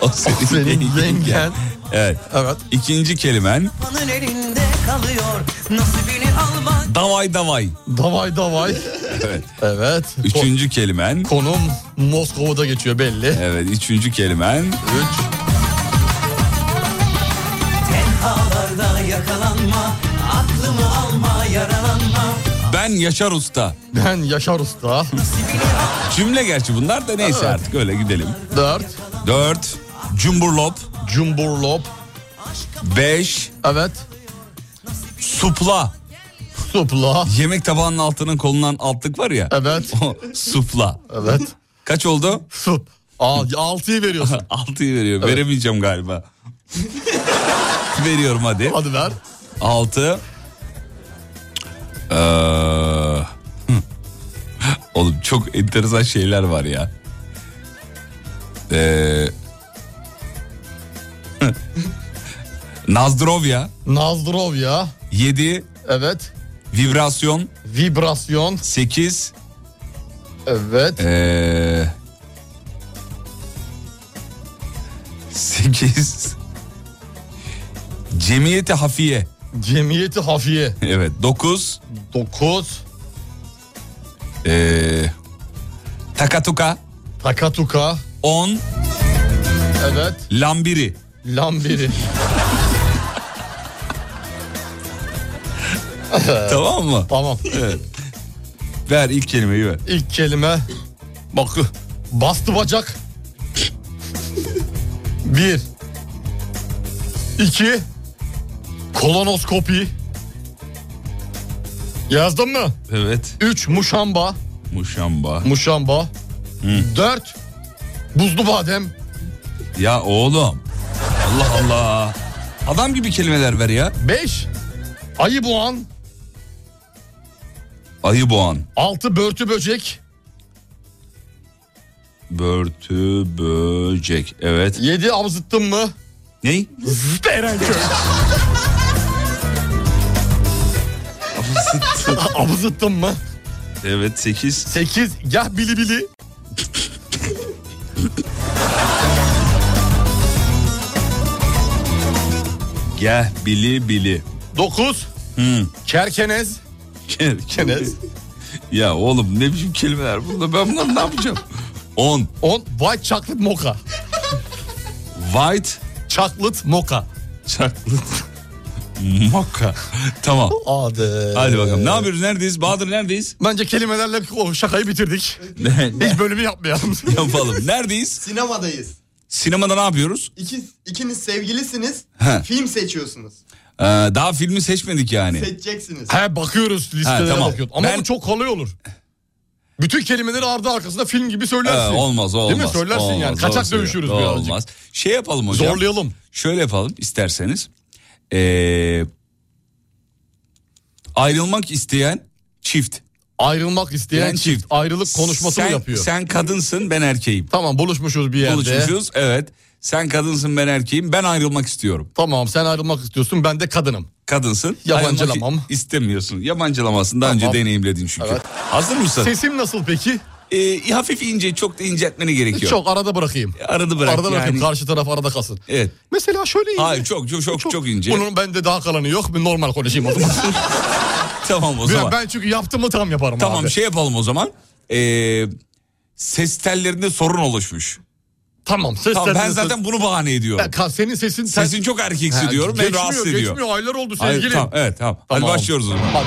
O senin, Senin yengen. Evet. Evet. İkinci kelimen Kapanın elinde kalıyor Nasibini alma davay davay. Davay davay. Evet. Evet. Ko- Üçüncü kelimen. konum Moskova'da geçiyor belli. Evet. Üçüncü kelimen. Üç. Tenhalarda yakalanma Aklımı alma yaralanma Ben Yaşar Usta. Ben Yaşar Usta. Cümle gerçi bunlar da neyse artık öyle gidelim. Dört. Dört. Cumburlop. Cumburlop. Beş. Evet. Supla. Supla. Yemek tabağının altının kolundan altlık var ya. Evet. O supla. Evet. Kaç oldu? Sup. Aa, altıyı veriyorsun. (laughs) Altıyı veriyor. Veremeyeceğim galiba. (laughs) Veriyorum hadi. Hadi ver. Altı. Ee, hı. Ee, (laughs) Oğlum çok enteresan şeyler var ya. Ee... (laughs) Nazdrovya. Nazdrov ya. Yedi. Evet. Vibrasyon. Vibrasyon. Sekiz. Evet. Ee... Sekiz. Cemiyeti hafiye. Cemiyeti hafiye. (laughs) Evet. Dokuz. Dokuz. Ee... Takatuka. Takatuka. 10 Evet. Lambiri. Lambiri. (laughs) Tamam mı? tamam. Ver ilk kelimeyi ver. İlk kelime. Bak. Bastı bacak. Bir. İki. Kolonoskopi. Yazdın mı? Evet. Üç. Muşamba. Muşamba. Muşamba. Dört. Buzlu badem. Ya oğlum. Allah Allah. Adam gibi kelimeler ver ya. Beş. Ayı boğan. Ayı boğan. Altı. Börtü böcek. Börtü böcek. Evet. Yedi. Avzıttın mı? Ney? Erenköy. (laughs) Avzıttın mı? Evet 8. 8 gah bili bili. Gel bili bili. 9 Hı. kerkenez. (laughs) Kerkenez. ya oğlum ne biçim kelimeler bunlar. Ben bunları ne yapacağım? 10. 10 white chocolate mocha. White Chocolate mocha. (laughs) chocolate mocha. tamam. Adı. Hadi bakalım. Ne yapıyoruz? Neredeyiz? Bahadır neredeyiz? Ee, Bence kelimelerle o şakayı bitirdik. Hiç bölümü yapmayalım. yapalım. Neredeyiz? Sinemadayız. Sinemada ne yapıyoruz? İkiz, ikiniz sevgilisiniz. He. Film seçiyorsunuz. Ee, daha filmi seçmedik yani. Seçeceksiniz. He bakıyoruz listelere He, tamam. bakıyoruz. Ama Ben- bu çok kolay olur. Bütün kelimeleri ardı arkasında film gibi Ee, söylersin. olmaz o olmaz. Değil mi? Söylersin olmaz, yani. doğru Kaçak söylüyor, dövüşürüz doğru birazcık. Olmaz. Şey yapalım hocam. Zorlayalım. Şöyle yapalım isterseniz. Ee, ayrılmak isteyen çift. Ayrılmak isteyen Yani çift. Ayrılık konuşması sen, mı yapıyor? Sen kadınsın ben erkeğim. Tamam buluşmuşuz bir yerde. Buluşmuşuz evet. Sen kadınsın ben erkeğim ben ayrılmak istiyorum. Tamam sen ayrılmak istiyorsun ben de kadınım. Kadınsın. Yabancılamam. ayrılmak istemiyorsun. Yabancılamasın daha Tamam. önce deneyimledin çünkü. Hazır mısın? Sesim nasıl peki? Ee, hafif ince çok da inceltmeni gerekiyor. E, Çok arada bırakayım. Arada bırak Arada bırakayım yani. karşı taraf arada kalsın. Evet. Mesela şöyle ince. Hayır çok çok çok, çok ince. Bunun bende daha kalanı yok. Bir normal konuşayım (laughs) o zaman. Tamam o Ben- zaman. Ben çünkü yaptığımı tam yaparım Tamam abi. şey yapalım o zaman. Ee, ses tellerinde sorun oluşmuş. Tamam ses Tamam, ben tellerinde- zaten bunu bahane ediyorum. Ben ka- senin sesin... sen- Sesin çok erkeksi Ha, diyorum ve geçmiyor, rahatsız ediyor. Geçmiyor aylar oldu Hayır, sevgilim. tamam, evet tamam. Tamam. Hadi başlıyoruz o zaman. Hadi.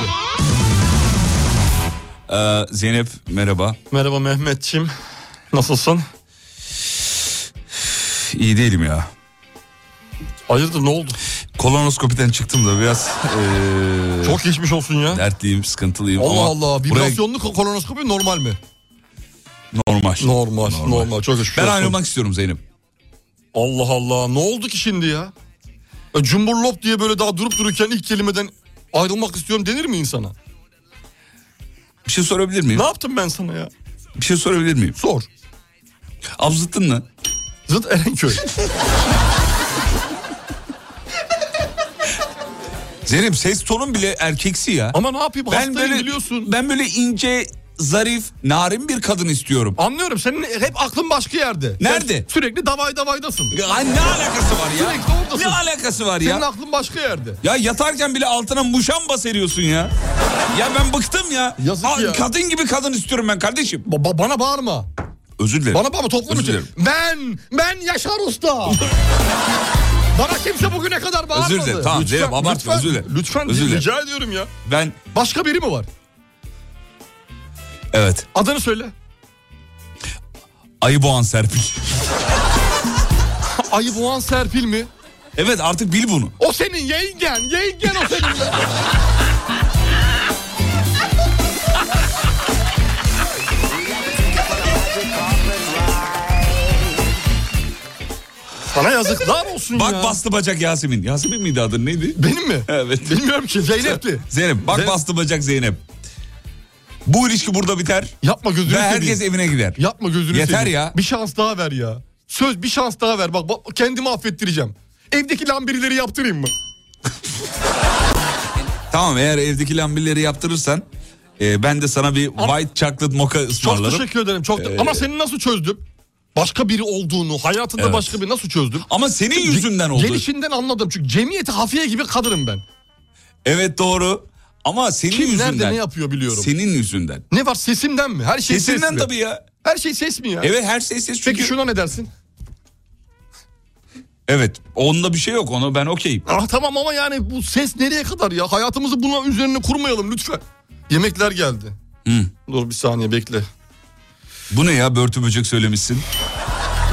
Ee, Zeynep merhaba. Merhaba Mehmetçim. Nasılsın? İyi değilim ya. Hayırdır ne oldu? Kolonoskopiden çıktım da biraz ee, Çok geçmiş olsun ya. dertliyim, sıkıntılıyım. Allah ama Allah. buraya Vibrasyonlu ko- kolonoskopi normal mi? normal. Normal. Normal. Çok geçmiş Ben olsun. ayrılmak istiyorum Zeynep. Allah Allah. Ne oldu ki şimdi ya? Ya Cumburlop diye böyle daha durup dururken ilk kelimeden ayrılmak istiyorum denir mi insana? Bir şey sorabilir miyim? Ne yaptım ben sana ya? Bir şey sorabilir miyim? Sor. Abzıttın mı? Zıt Erenköy. Zeynep ses tonun bile erkeksi ya. Ama ne yapayım ben hastayım böyle biliyorsun. ben böyle ince, zarif, narin bir kadın istiyorum. Anlıyorum senin hep aklın başka yerde. Nerede? Sen sürekli davay davaydasın. Ay ne alakası var ya? Sürekli oradasın. Ne alakası var Senin ya? aklın başka yerde. Ya yatarken bile altına muşamba seriyorsun ya. Ya ben bıktım ya. Yazık ya. Kadın gibi kadın istiyorum ben kardeşim. Ba- ba- bana bağırma. Özür dilerim. Bana bağırma toplum Özür için. dilerim. Ben, ben Yaşar (laughs) Usta. bana kimse bugüne kadar bağırmadı. Özür dilerim, tamam, Zeynep, abartma, lütfen, özür dilerim. Lütfen Özür dilerim. rica ediyorum ya. Ben Başka biri mi var? evet. Adını söyle. Ayıboğan Serpil. (laughs) Ayı Boğan Serpil mi? evet artık bil bunu. O senin yengen. Yengen o senin. (laughs) Sana yazıklar olsun Bak ya. bastı bacak Yasemin. Yasemin miydi adı neydi? Benim mi? Evet. Bilmiyorum ki Zeynep'ti. Zeynep bak Zeynep- bastı bacak Zeynep. Bu ilişki burada biter. Yapma gözünü Ve seveyim. herkes evine gider. Yapma gözünü Yeter seveyim. ya. Bir şans daha ver ya. Söz bir şans daha ver. Bak, bak kendimi affettireceğim. Evdeki lambirileri yaptırayım mı? Tamam eğer evdeki lambilleri yaptırırsan e, ben de sana bir white chocolate mocha Çok ısmarlarım. E, teşekkür ederim. Çok Ee, te- Ama seni nasıl çözdüm? Başka biri olduğunu, hayatında Evet. başka biri nasıl çözdüm? Ama senin yüzünden oldu. Gelişinden anladım. Çünkü cemiyeti hafiye gibi kadınım ben. Evet doğru. Ama senin Kim yüzünden. nerede ne yapıyor biliyorum. Senin yüzünden. Ne var sesimden mi? Her şey ses Sesinden mi? tabii ya. Her şey ses mi ya? Evet her şey ses çünkü. Peki şuna ne dersin? Evet onda bir şey yok ona ben okeyim. Ah tamam ama yani bu ses nereye kadar ya? Hayatımızı bunun üzerine kurmayalım lütfen. Yemekler geldi. Hı. Dur bir saniye bekle. Bu ne ya börtü böcek söylemişsin.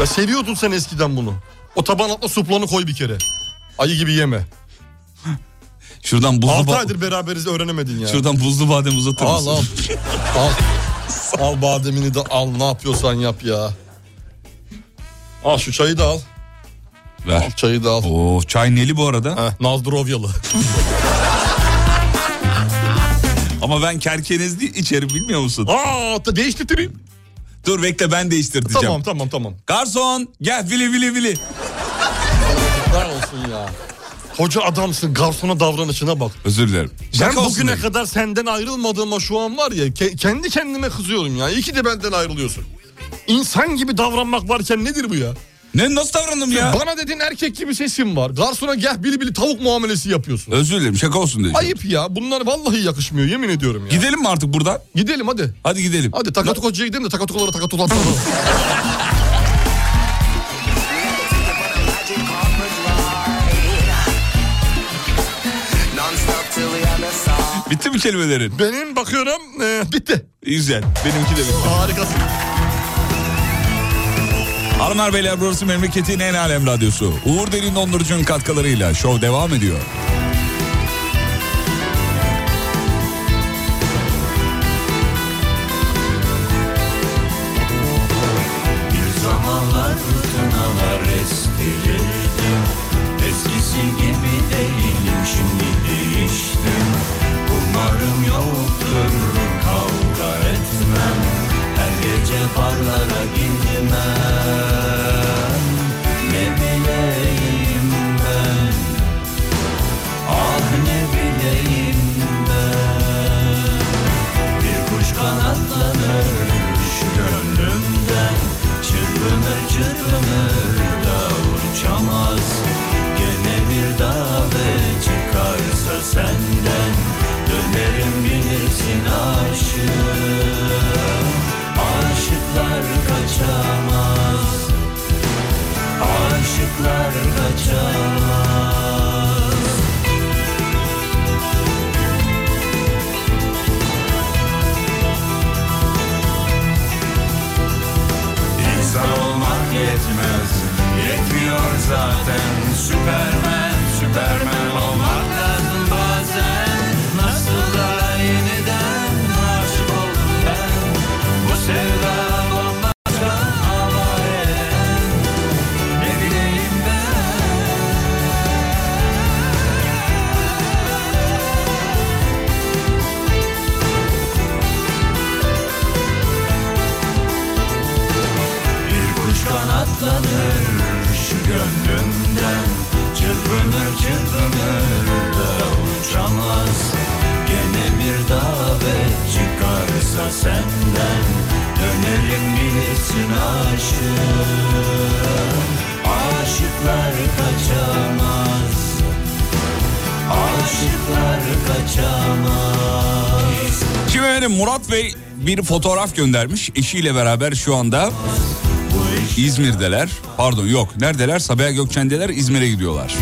Ya seviyordun sen eskiden bunu. O taban atla suplanı koy bir kere. Ayı gibi yeme. Şuradan buzlu, 6 ba- aydır beraberiz öğrenemedin ya. şuradan buzlu badem uzatır Al mısın? al. al. (laughs) Al bademini de al ne yapıyorsan yap ya. Al şu çayı da al. Al Ver. çayı da al. Oo çay neli bu arada. Heh, Nazdrovyalı. (laughs) Ama ben kerkenezli içerim bilmiyor musun? Aa da değiştireyim. Dur bekle ben değiştireceğim. Tamam tamam tamam. Garson gel vili vili vili. Yazıklar olsun ya. Koca adamsın garsona davranışına bak. Özür dilerim. Ben Şaka olsun bugüne dedim. kadar senden ayrılmadığıma şu an var ya ke- kendi kendime kızıyorum ya. İyi ki de benden ayrılıyorsun. İnsan gibi davranmak varken nedir bu ya? Ne nasıl davrandım ya? Bana dedin erkek gibi sesin var. Garsona geh bili bili tavuk muamelesi yapıyorsun. Özür dilerim şaka olsun diyeceğim. Ayıp ya. Bunlar vallahi yakışmıyor yemin ediyorum ya. Gidelim mi artık buradan? Gidelim hadi. Hadi gidelim. Hadi takatuk hocaya gidelim de takatukalara takatulatlarına. (laughs) Bitti mi kelimelerin? Benim bakıyorum e, bitti. Güzel. Benimki de bitti. Harikasın. Hanımlar beyler burası memleketin en alem radyosu. Uğur Derin Dondurucu'nun katkılarıyla şov devam ediyor. barlara girmem Ne bileyim ben Ah ne bileyim ben Bir kuş kanatlanır şu gönlümden Çırpınır çırpınır da uçamaz Gene bir davet çıkarsa senden Dönerim bilirsin aşık Aşıklar kaçamaz Aşıklar kaçamaz İnsan olmak yetmez Yetmiyor zaten Süpermen, süpermen olmak lazım bazen Nasıl da yeniden aşık oldum ben Bu sevda bambaşka havaya Ne bileyim ben Bir kuş kanatlanır şu gönlümden Çırpınır çırpınır da uçamaz Gene bir davet çıkarsa senden Dönelim bilirsin aşık Aşıklar kaçamaz Aşıklar kaçamaz Şimdi efendim Murat Bey bir fotoğraf göndermiş. Eşiyle beraber şu anda İzmir'deler. Pardon yok. Neredeler? Sabiha Gökçen'deler. İzmir'e gidiyorlar.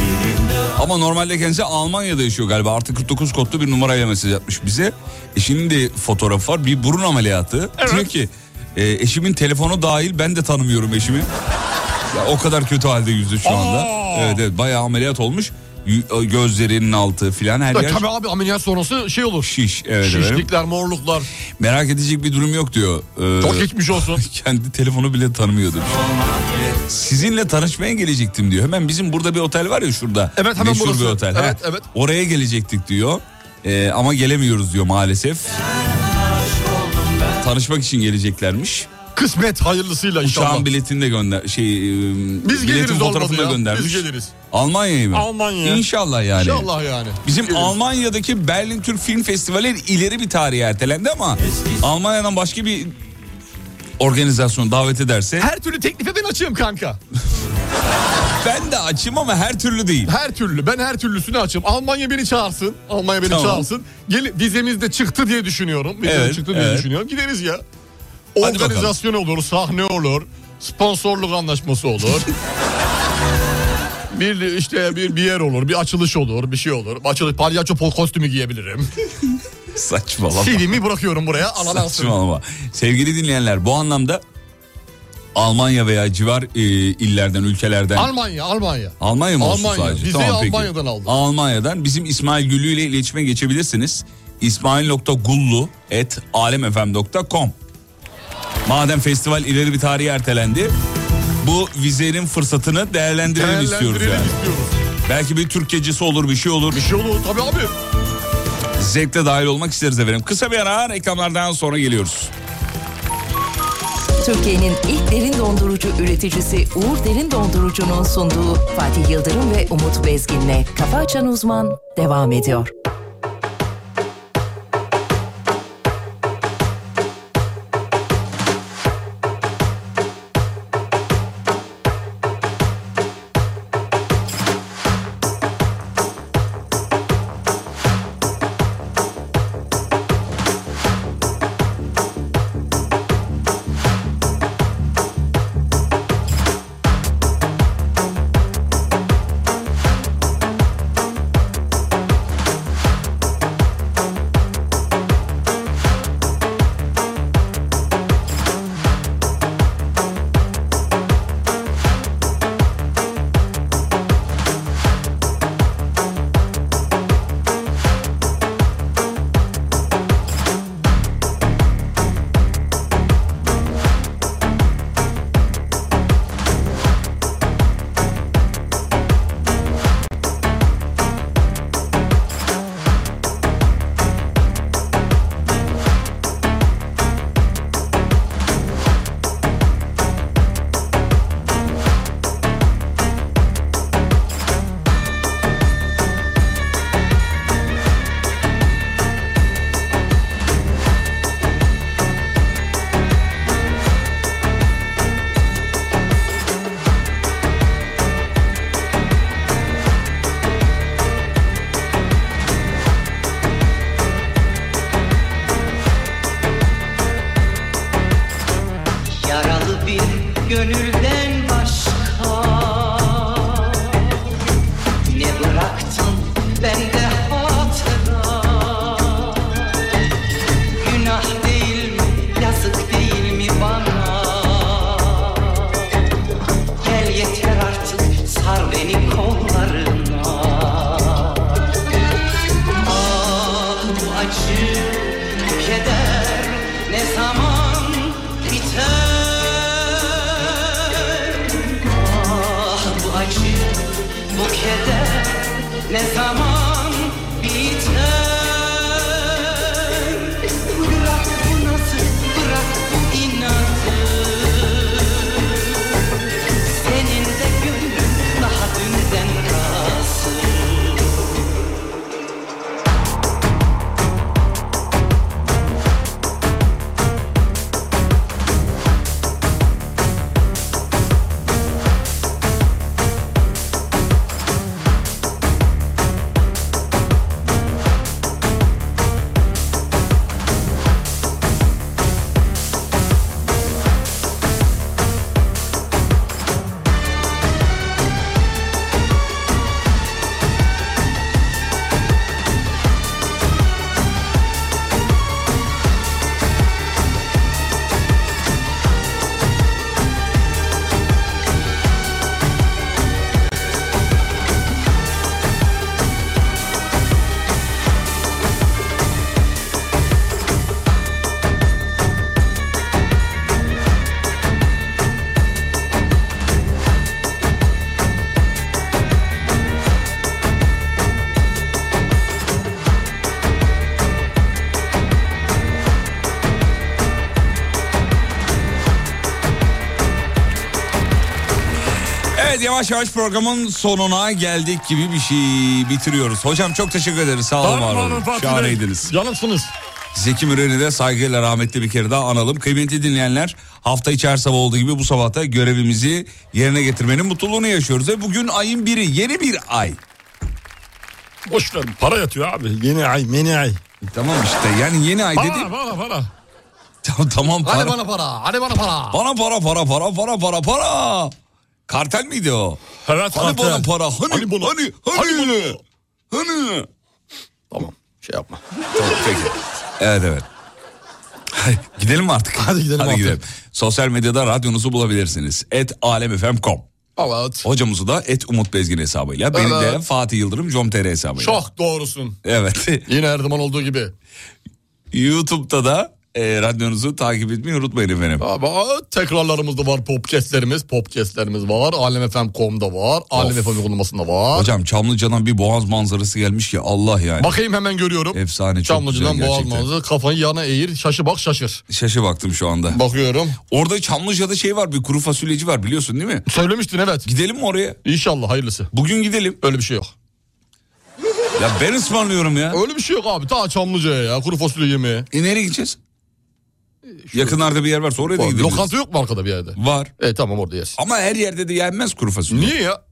Ama normalde kendisi Almanya'da yaşıyor galiba. Artı 49 kodlu bir numarayla mesaj atmış bize. Eşinin de fotoğrafı var. Bir burun ameliyatı. Diyor ki "E, eşimin telefonu dahil ben de tanımıyorum eşimi. Ya, o kadar kötü halde yüzü şu anda. Evet evet bayağı ameliyat olmuş. Y- Gözlerinin altı filan her Ya yer Tabii abi ameliyat sonrası şey olur. Şiş. evet efendim. Şişlikler, morluklar. Merak edecek bir durum yok diyor. Ee, Çok geçmiş olsun. (laughs) Kendi telefonu bile tanımıyordu. Sizinle tanışmaya gelecektim diyor. Hemen bizim burada bir otel var ya şurada. Evet, hemen Meşhur burası. bir otel. Evet, Ha, Oraya gelecektik diyor. Ee, ama gelemiyoruz diyor maalesef. Tanışmak için geleceklermiş. Kısmet hayırlısıyla Uçağın inşallah. biletini de gönder şey e, Biz biletin geliriz olmadı fotoğrafını da ya. göndermiş. Biz geliriz. Almanya'yı mı? Almanya. İnşallah yani. İnşallah yani. Bizim Geliriz. Almanya'daki Berlin Türk Film Festivali ileri bir tarihe ertelendi ama Almanya'dan başka bir organizasyon davet ederse Her türlü teklife ben açığım kanka. (laughs) ben de açım ama her türlü değil. Her türlü. Ben her türlüsünü açığım. Almanya beni çağırsın. Almanya beni Tamam. çağırsın. Gel, vizemiz de çıktı diye düşünüyorum. Vizemiz Evet, çıktı diye evet. düşünüyorum. Gideriz ya. Hadi bakalım. Organizasyon olur, sahne olur, sponsorluk anlaşması (laughs) olur. bir işte bir, bir yer olur, bir açılış olur, bir şey olur. Açılış palyaço pol kostümü giyebilirim. Saçmalama. CD'mi bırakıyorum buraya. Alan alsın. Saçmalama. Sevgili dinleyenler bu anlamda Almanya veya civar e, illerden, ülkelerden Almanya, Almanya. Almanya mı olsun Almanya. sadece? Vizeyi peki. Almanya'dan aldım. Almanya'dan bizim İsmail Güllü ile iletişime geçebilirsiniz. İsmail.gullu et alemfm.com Madem festival ileri bir tarihe ertelendi. Bu vizenin fırsatını değerlendirelim, istiyoruz yani. Belki bir Türk gecesi olur bir şey olur. Bir şey olur tabii abi. Zevkle dahil olmak isteriz efendim. Kısa bir ara reklamlardan sonra geliyoruz. Türkiye'nin ilk derin dondurucu üreticisi Uğur Derin Dondurucu'nun sunduğu Fatih Yıldırım ve Umut Bezgin'le Kafa Açan Uzman devam ediyor. gönülden başka Ne bıraktın bende hatıra Günah değil mi, yazık değil mi bana Gel yeter artık, sar beni kollarına Ah bu acı, bu keder ne zaman biter Ah bu acı, bu keder ne zaman biter Bırak bu nasıl, bırak bu inadı Senin de gönlün daha dünden kalsın Evet yavaş yavaş programın sonuna geldik gibi bir şey bitiriyoruz. Hocam çok teşekkür ederiz. Sağ olun var olun. Şahaneydiniz. Yanılsınız. Zeki Müren'i de saygıyla rahmetli bir kere daha analım. Kıymetli dinleyenler hafta içi her sabah olduğu gibi bu sabah da görevimizi yerine getirmenin mutluluğunu yaşıyoruz. Ve bugün ayın biri yeni bir ay. Boş ver para yatıyor abi. Yeni ay meni ay. Tamam işte yani yeni ay Para, dedi. para para. Tamam, tamam para. Hadi bana para. Hadi bana para. Bana para para para para para para. Kartel miydi o? Evet Hani kartel. bana para hani hani hani hani. hani. Tamam şey yapma. Tamam peki. Evet evet. gidelim mi artık? Hadi gidelim artık. Sosyal medyada radyonuzu bulabilirsiniz. Et alemfm.com Evet. Hocamızı da et Umut Bezgin hesabıyla. Beni de Evet. Fatih Yıldırım com.tr hesabıyla. Çok doğrusun. Evet. (laughs) Yine her zaman olduğu gibi. YouTube'da da e, radyonuzu takip etmeyi unutmayın efendim. Abi, aa, tekrarlarımız da var. Popcastlerimiz, popcastlerimiz var. Alemfm.com'da var. Alemfm uygulamasında var. Hocam Çamlıca'dan bir boğaz manzarası gelmiş ki Allah yani. Bakayım hemen görüyorum. Efsane çok Çamlıcı'dan güzel boğaz gerçekten. manzarası. Kafayı yana eğir. Şaşı bak şaşır. Şaşı baktım şu anda. Bakıyorum. Orada Çamlıca'da şey var bir kuru fasulyeci var biliyorsun değil mi? Söylemiştin evet. Gidelim mi oraya? İnşallah hayırlısı. Bugün gidelim. Öyle bir şey yok. Ya ben ısmarlıyorum ya. Öyle bir şey yok abi. Ta Çamlıca'ya ya. Kuru fasulye Ee, yemeğe. E nereye gideceğiz? Yakınlarda bir yer varsa oraya da Abi, gidebiliriz. Lokanta yok mu arkada bir yerde? Var. E tamam orada yersin. Ama her yerde de yenmez kuru fasulye. Niye ya?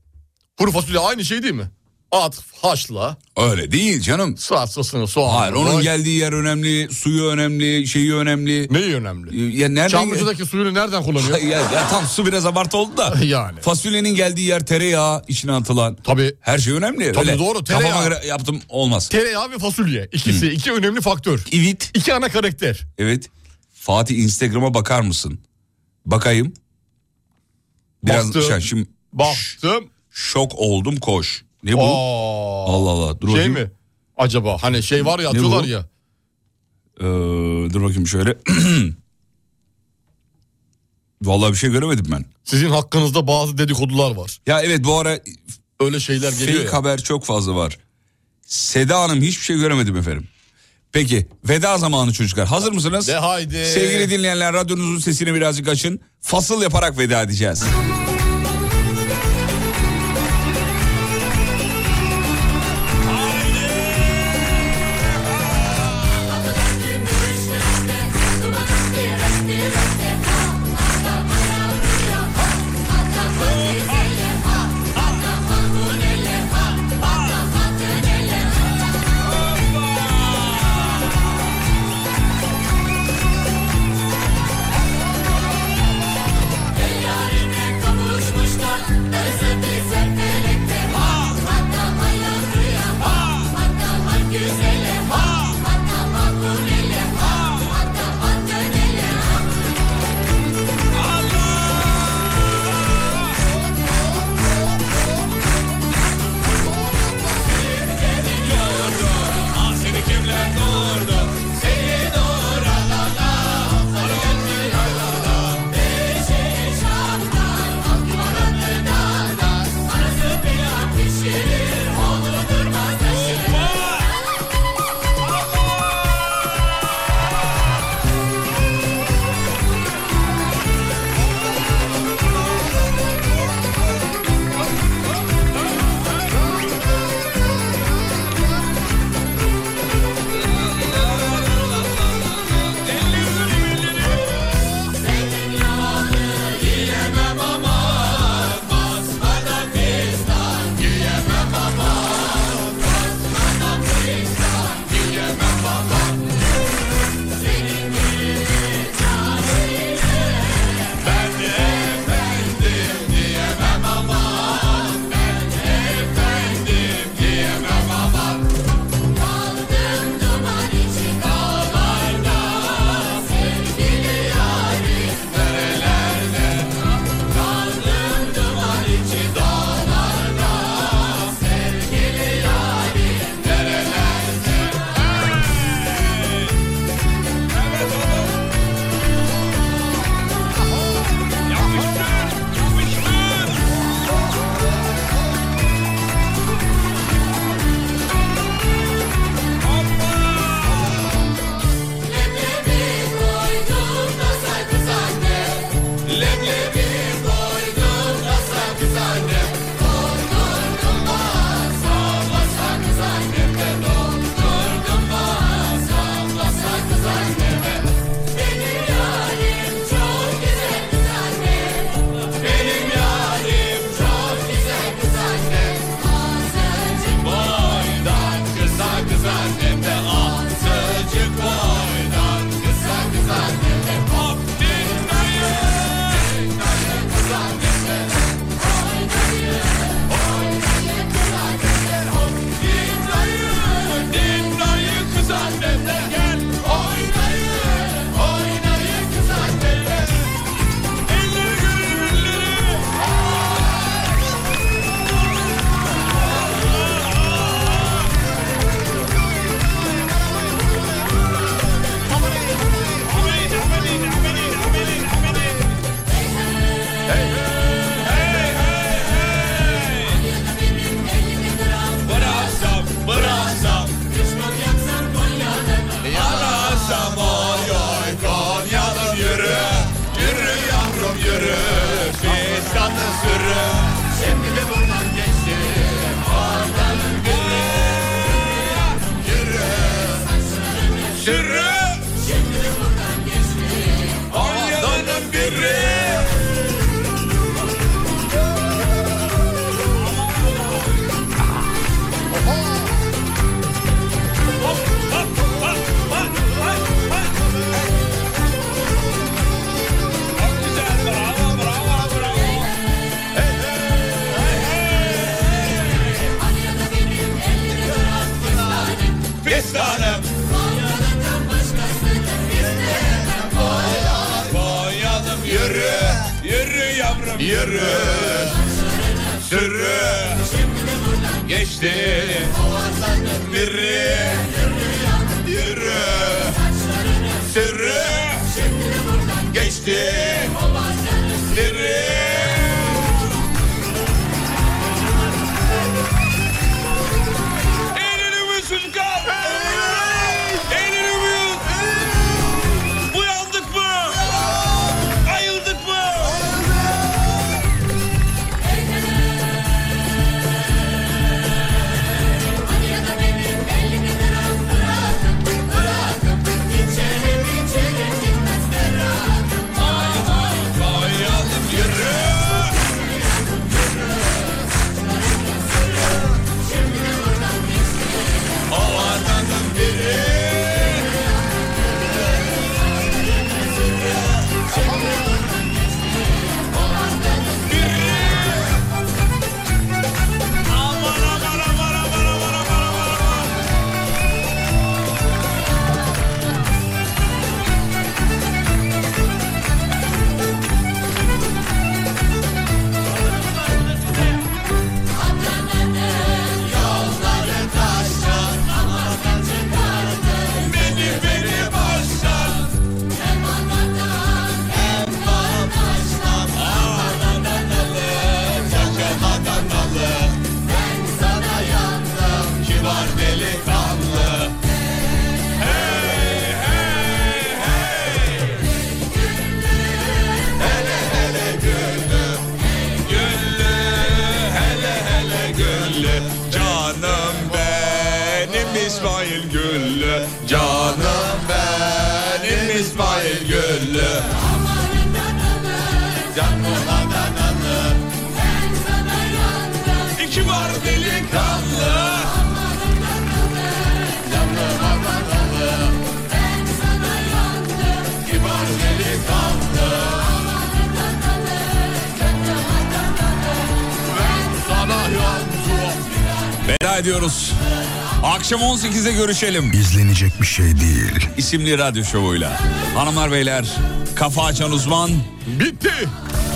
Kuru fasulye aynı şey değil mi? At, haşla, Öyle değil canım. salçasını, soğan. Hayır onun geldiği yer önemli, suyu önemli, şeyi önemli. Neyi önemli? Ya nereden? Çamlıca'daki suyunu nereden kullanıyor? (laughs) ya, ya tam su biraz abartı oldu da. (laughs) Yani. Fasulyenin geldiği yer tereyağı içine atılan. Tabii. Her şey önemli. Tabii doğru, tereyağı. Kafama göre yaptım olmaz. Tereyağı ve fasulye. İkisi. iki önemli faktör. İvit. İki ana karakter. Evet. Fatih Instagram'a bakar mısın? Bakayım. Biraz Baktım. şey, şimdi Baktım. şok oldum koş. Ne bu? Aa, Allah Allah. Dur şey bakayım. mi? Acaba hani şey var ya Ne atıyorlar bu? ya. Ee, dur bakayım şöyle. (clears throat) Vallahi bir şey göremedim ben. Sizin hakkınızda bazı dedikodular var. Ya evet bu ara Öyle şeyler geliyor fake ya. haber çok fazla var. Seda Hanım hiçbir şey göremedim efendim. Peki veda zamanı çocuklar. Hazır mısınız? De haydi. Sevgili dinleyenler radyonuzun sesini birazcık açın. Fasıl yaparak veda edeceğiz. Yar Yürü, yürü yavrum yürü. Sürü, geçti. Biri, yürü. Sürü, geçti. Biri. Eğlenin çocuklar. Eğlenin uyuz. Uyandık mı? Ayıldık mı? Beni beni başlar Hem anadan hem babaştan Anadan alır, yaşamadan alır Ben sana yandım, kibar delikanlı Hey hey hey Hele hele güllü Güllü, hele hele güllü Canım benim İsmail Güllü Canım benim İsmail Güllü Canlılardan alır Ben sana yandım, İki var delikanlı Canlılardan alır Ben sana yandım, kibar delikanlı Veda ediyoruz. Akşam 18'e görüşelim. İzlenecek bir şey değil. İsimli radyo şovuyla. Hanımlar beyler kafa açan uzman. Bitti.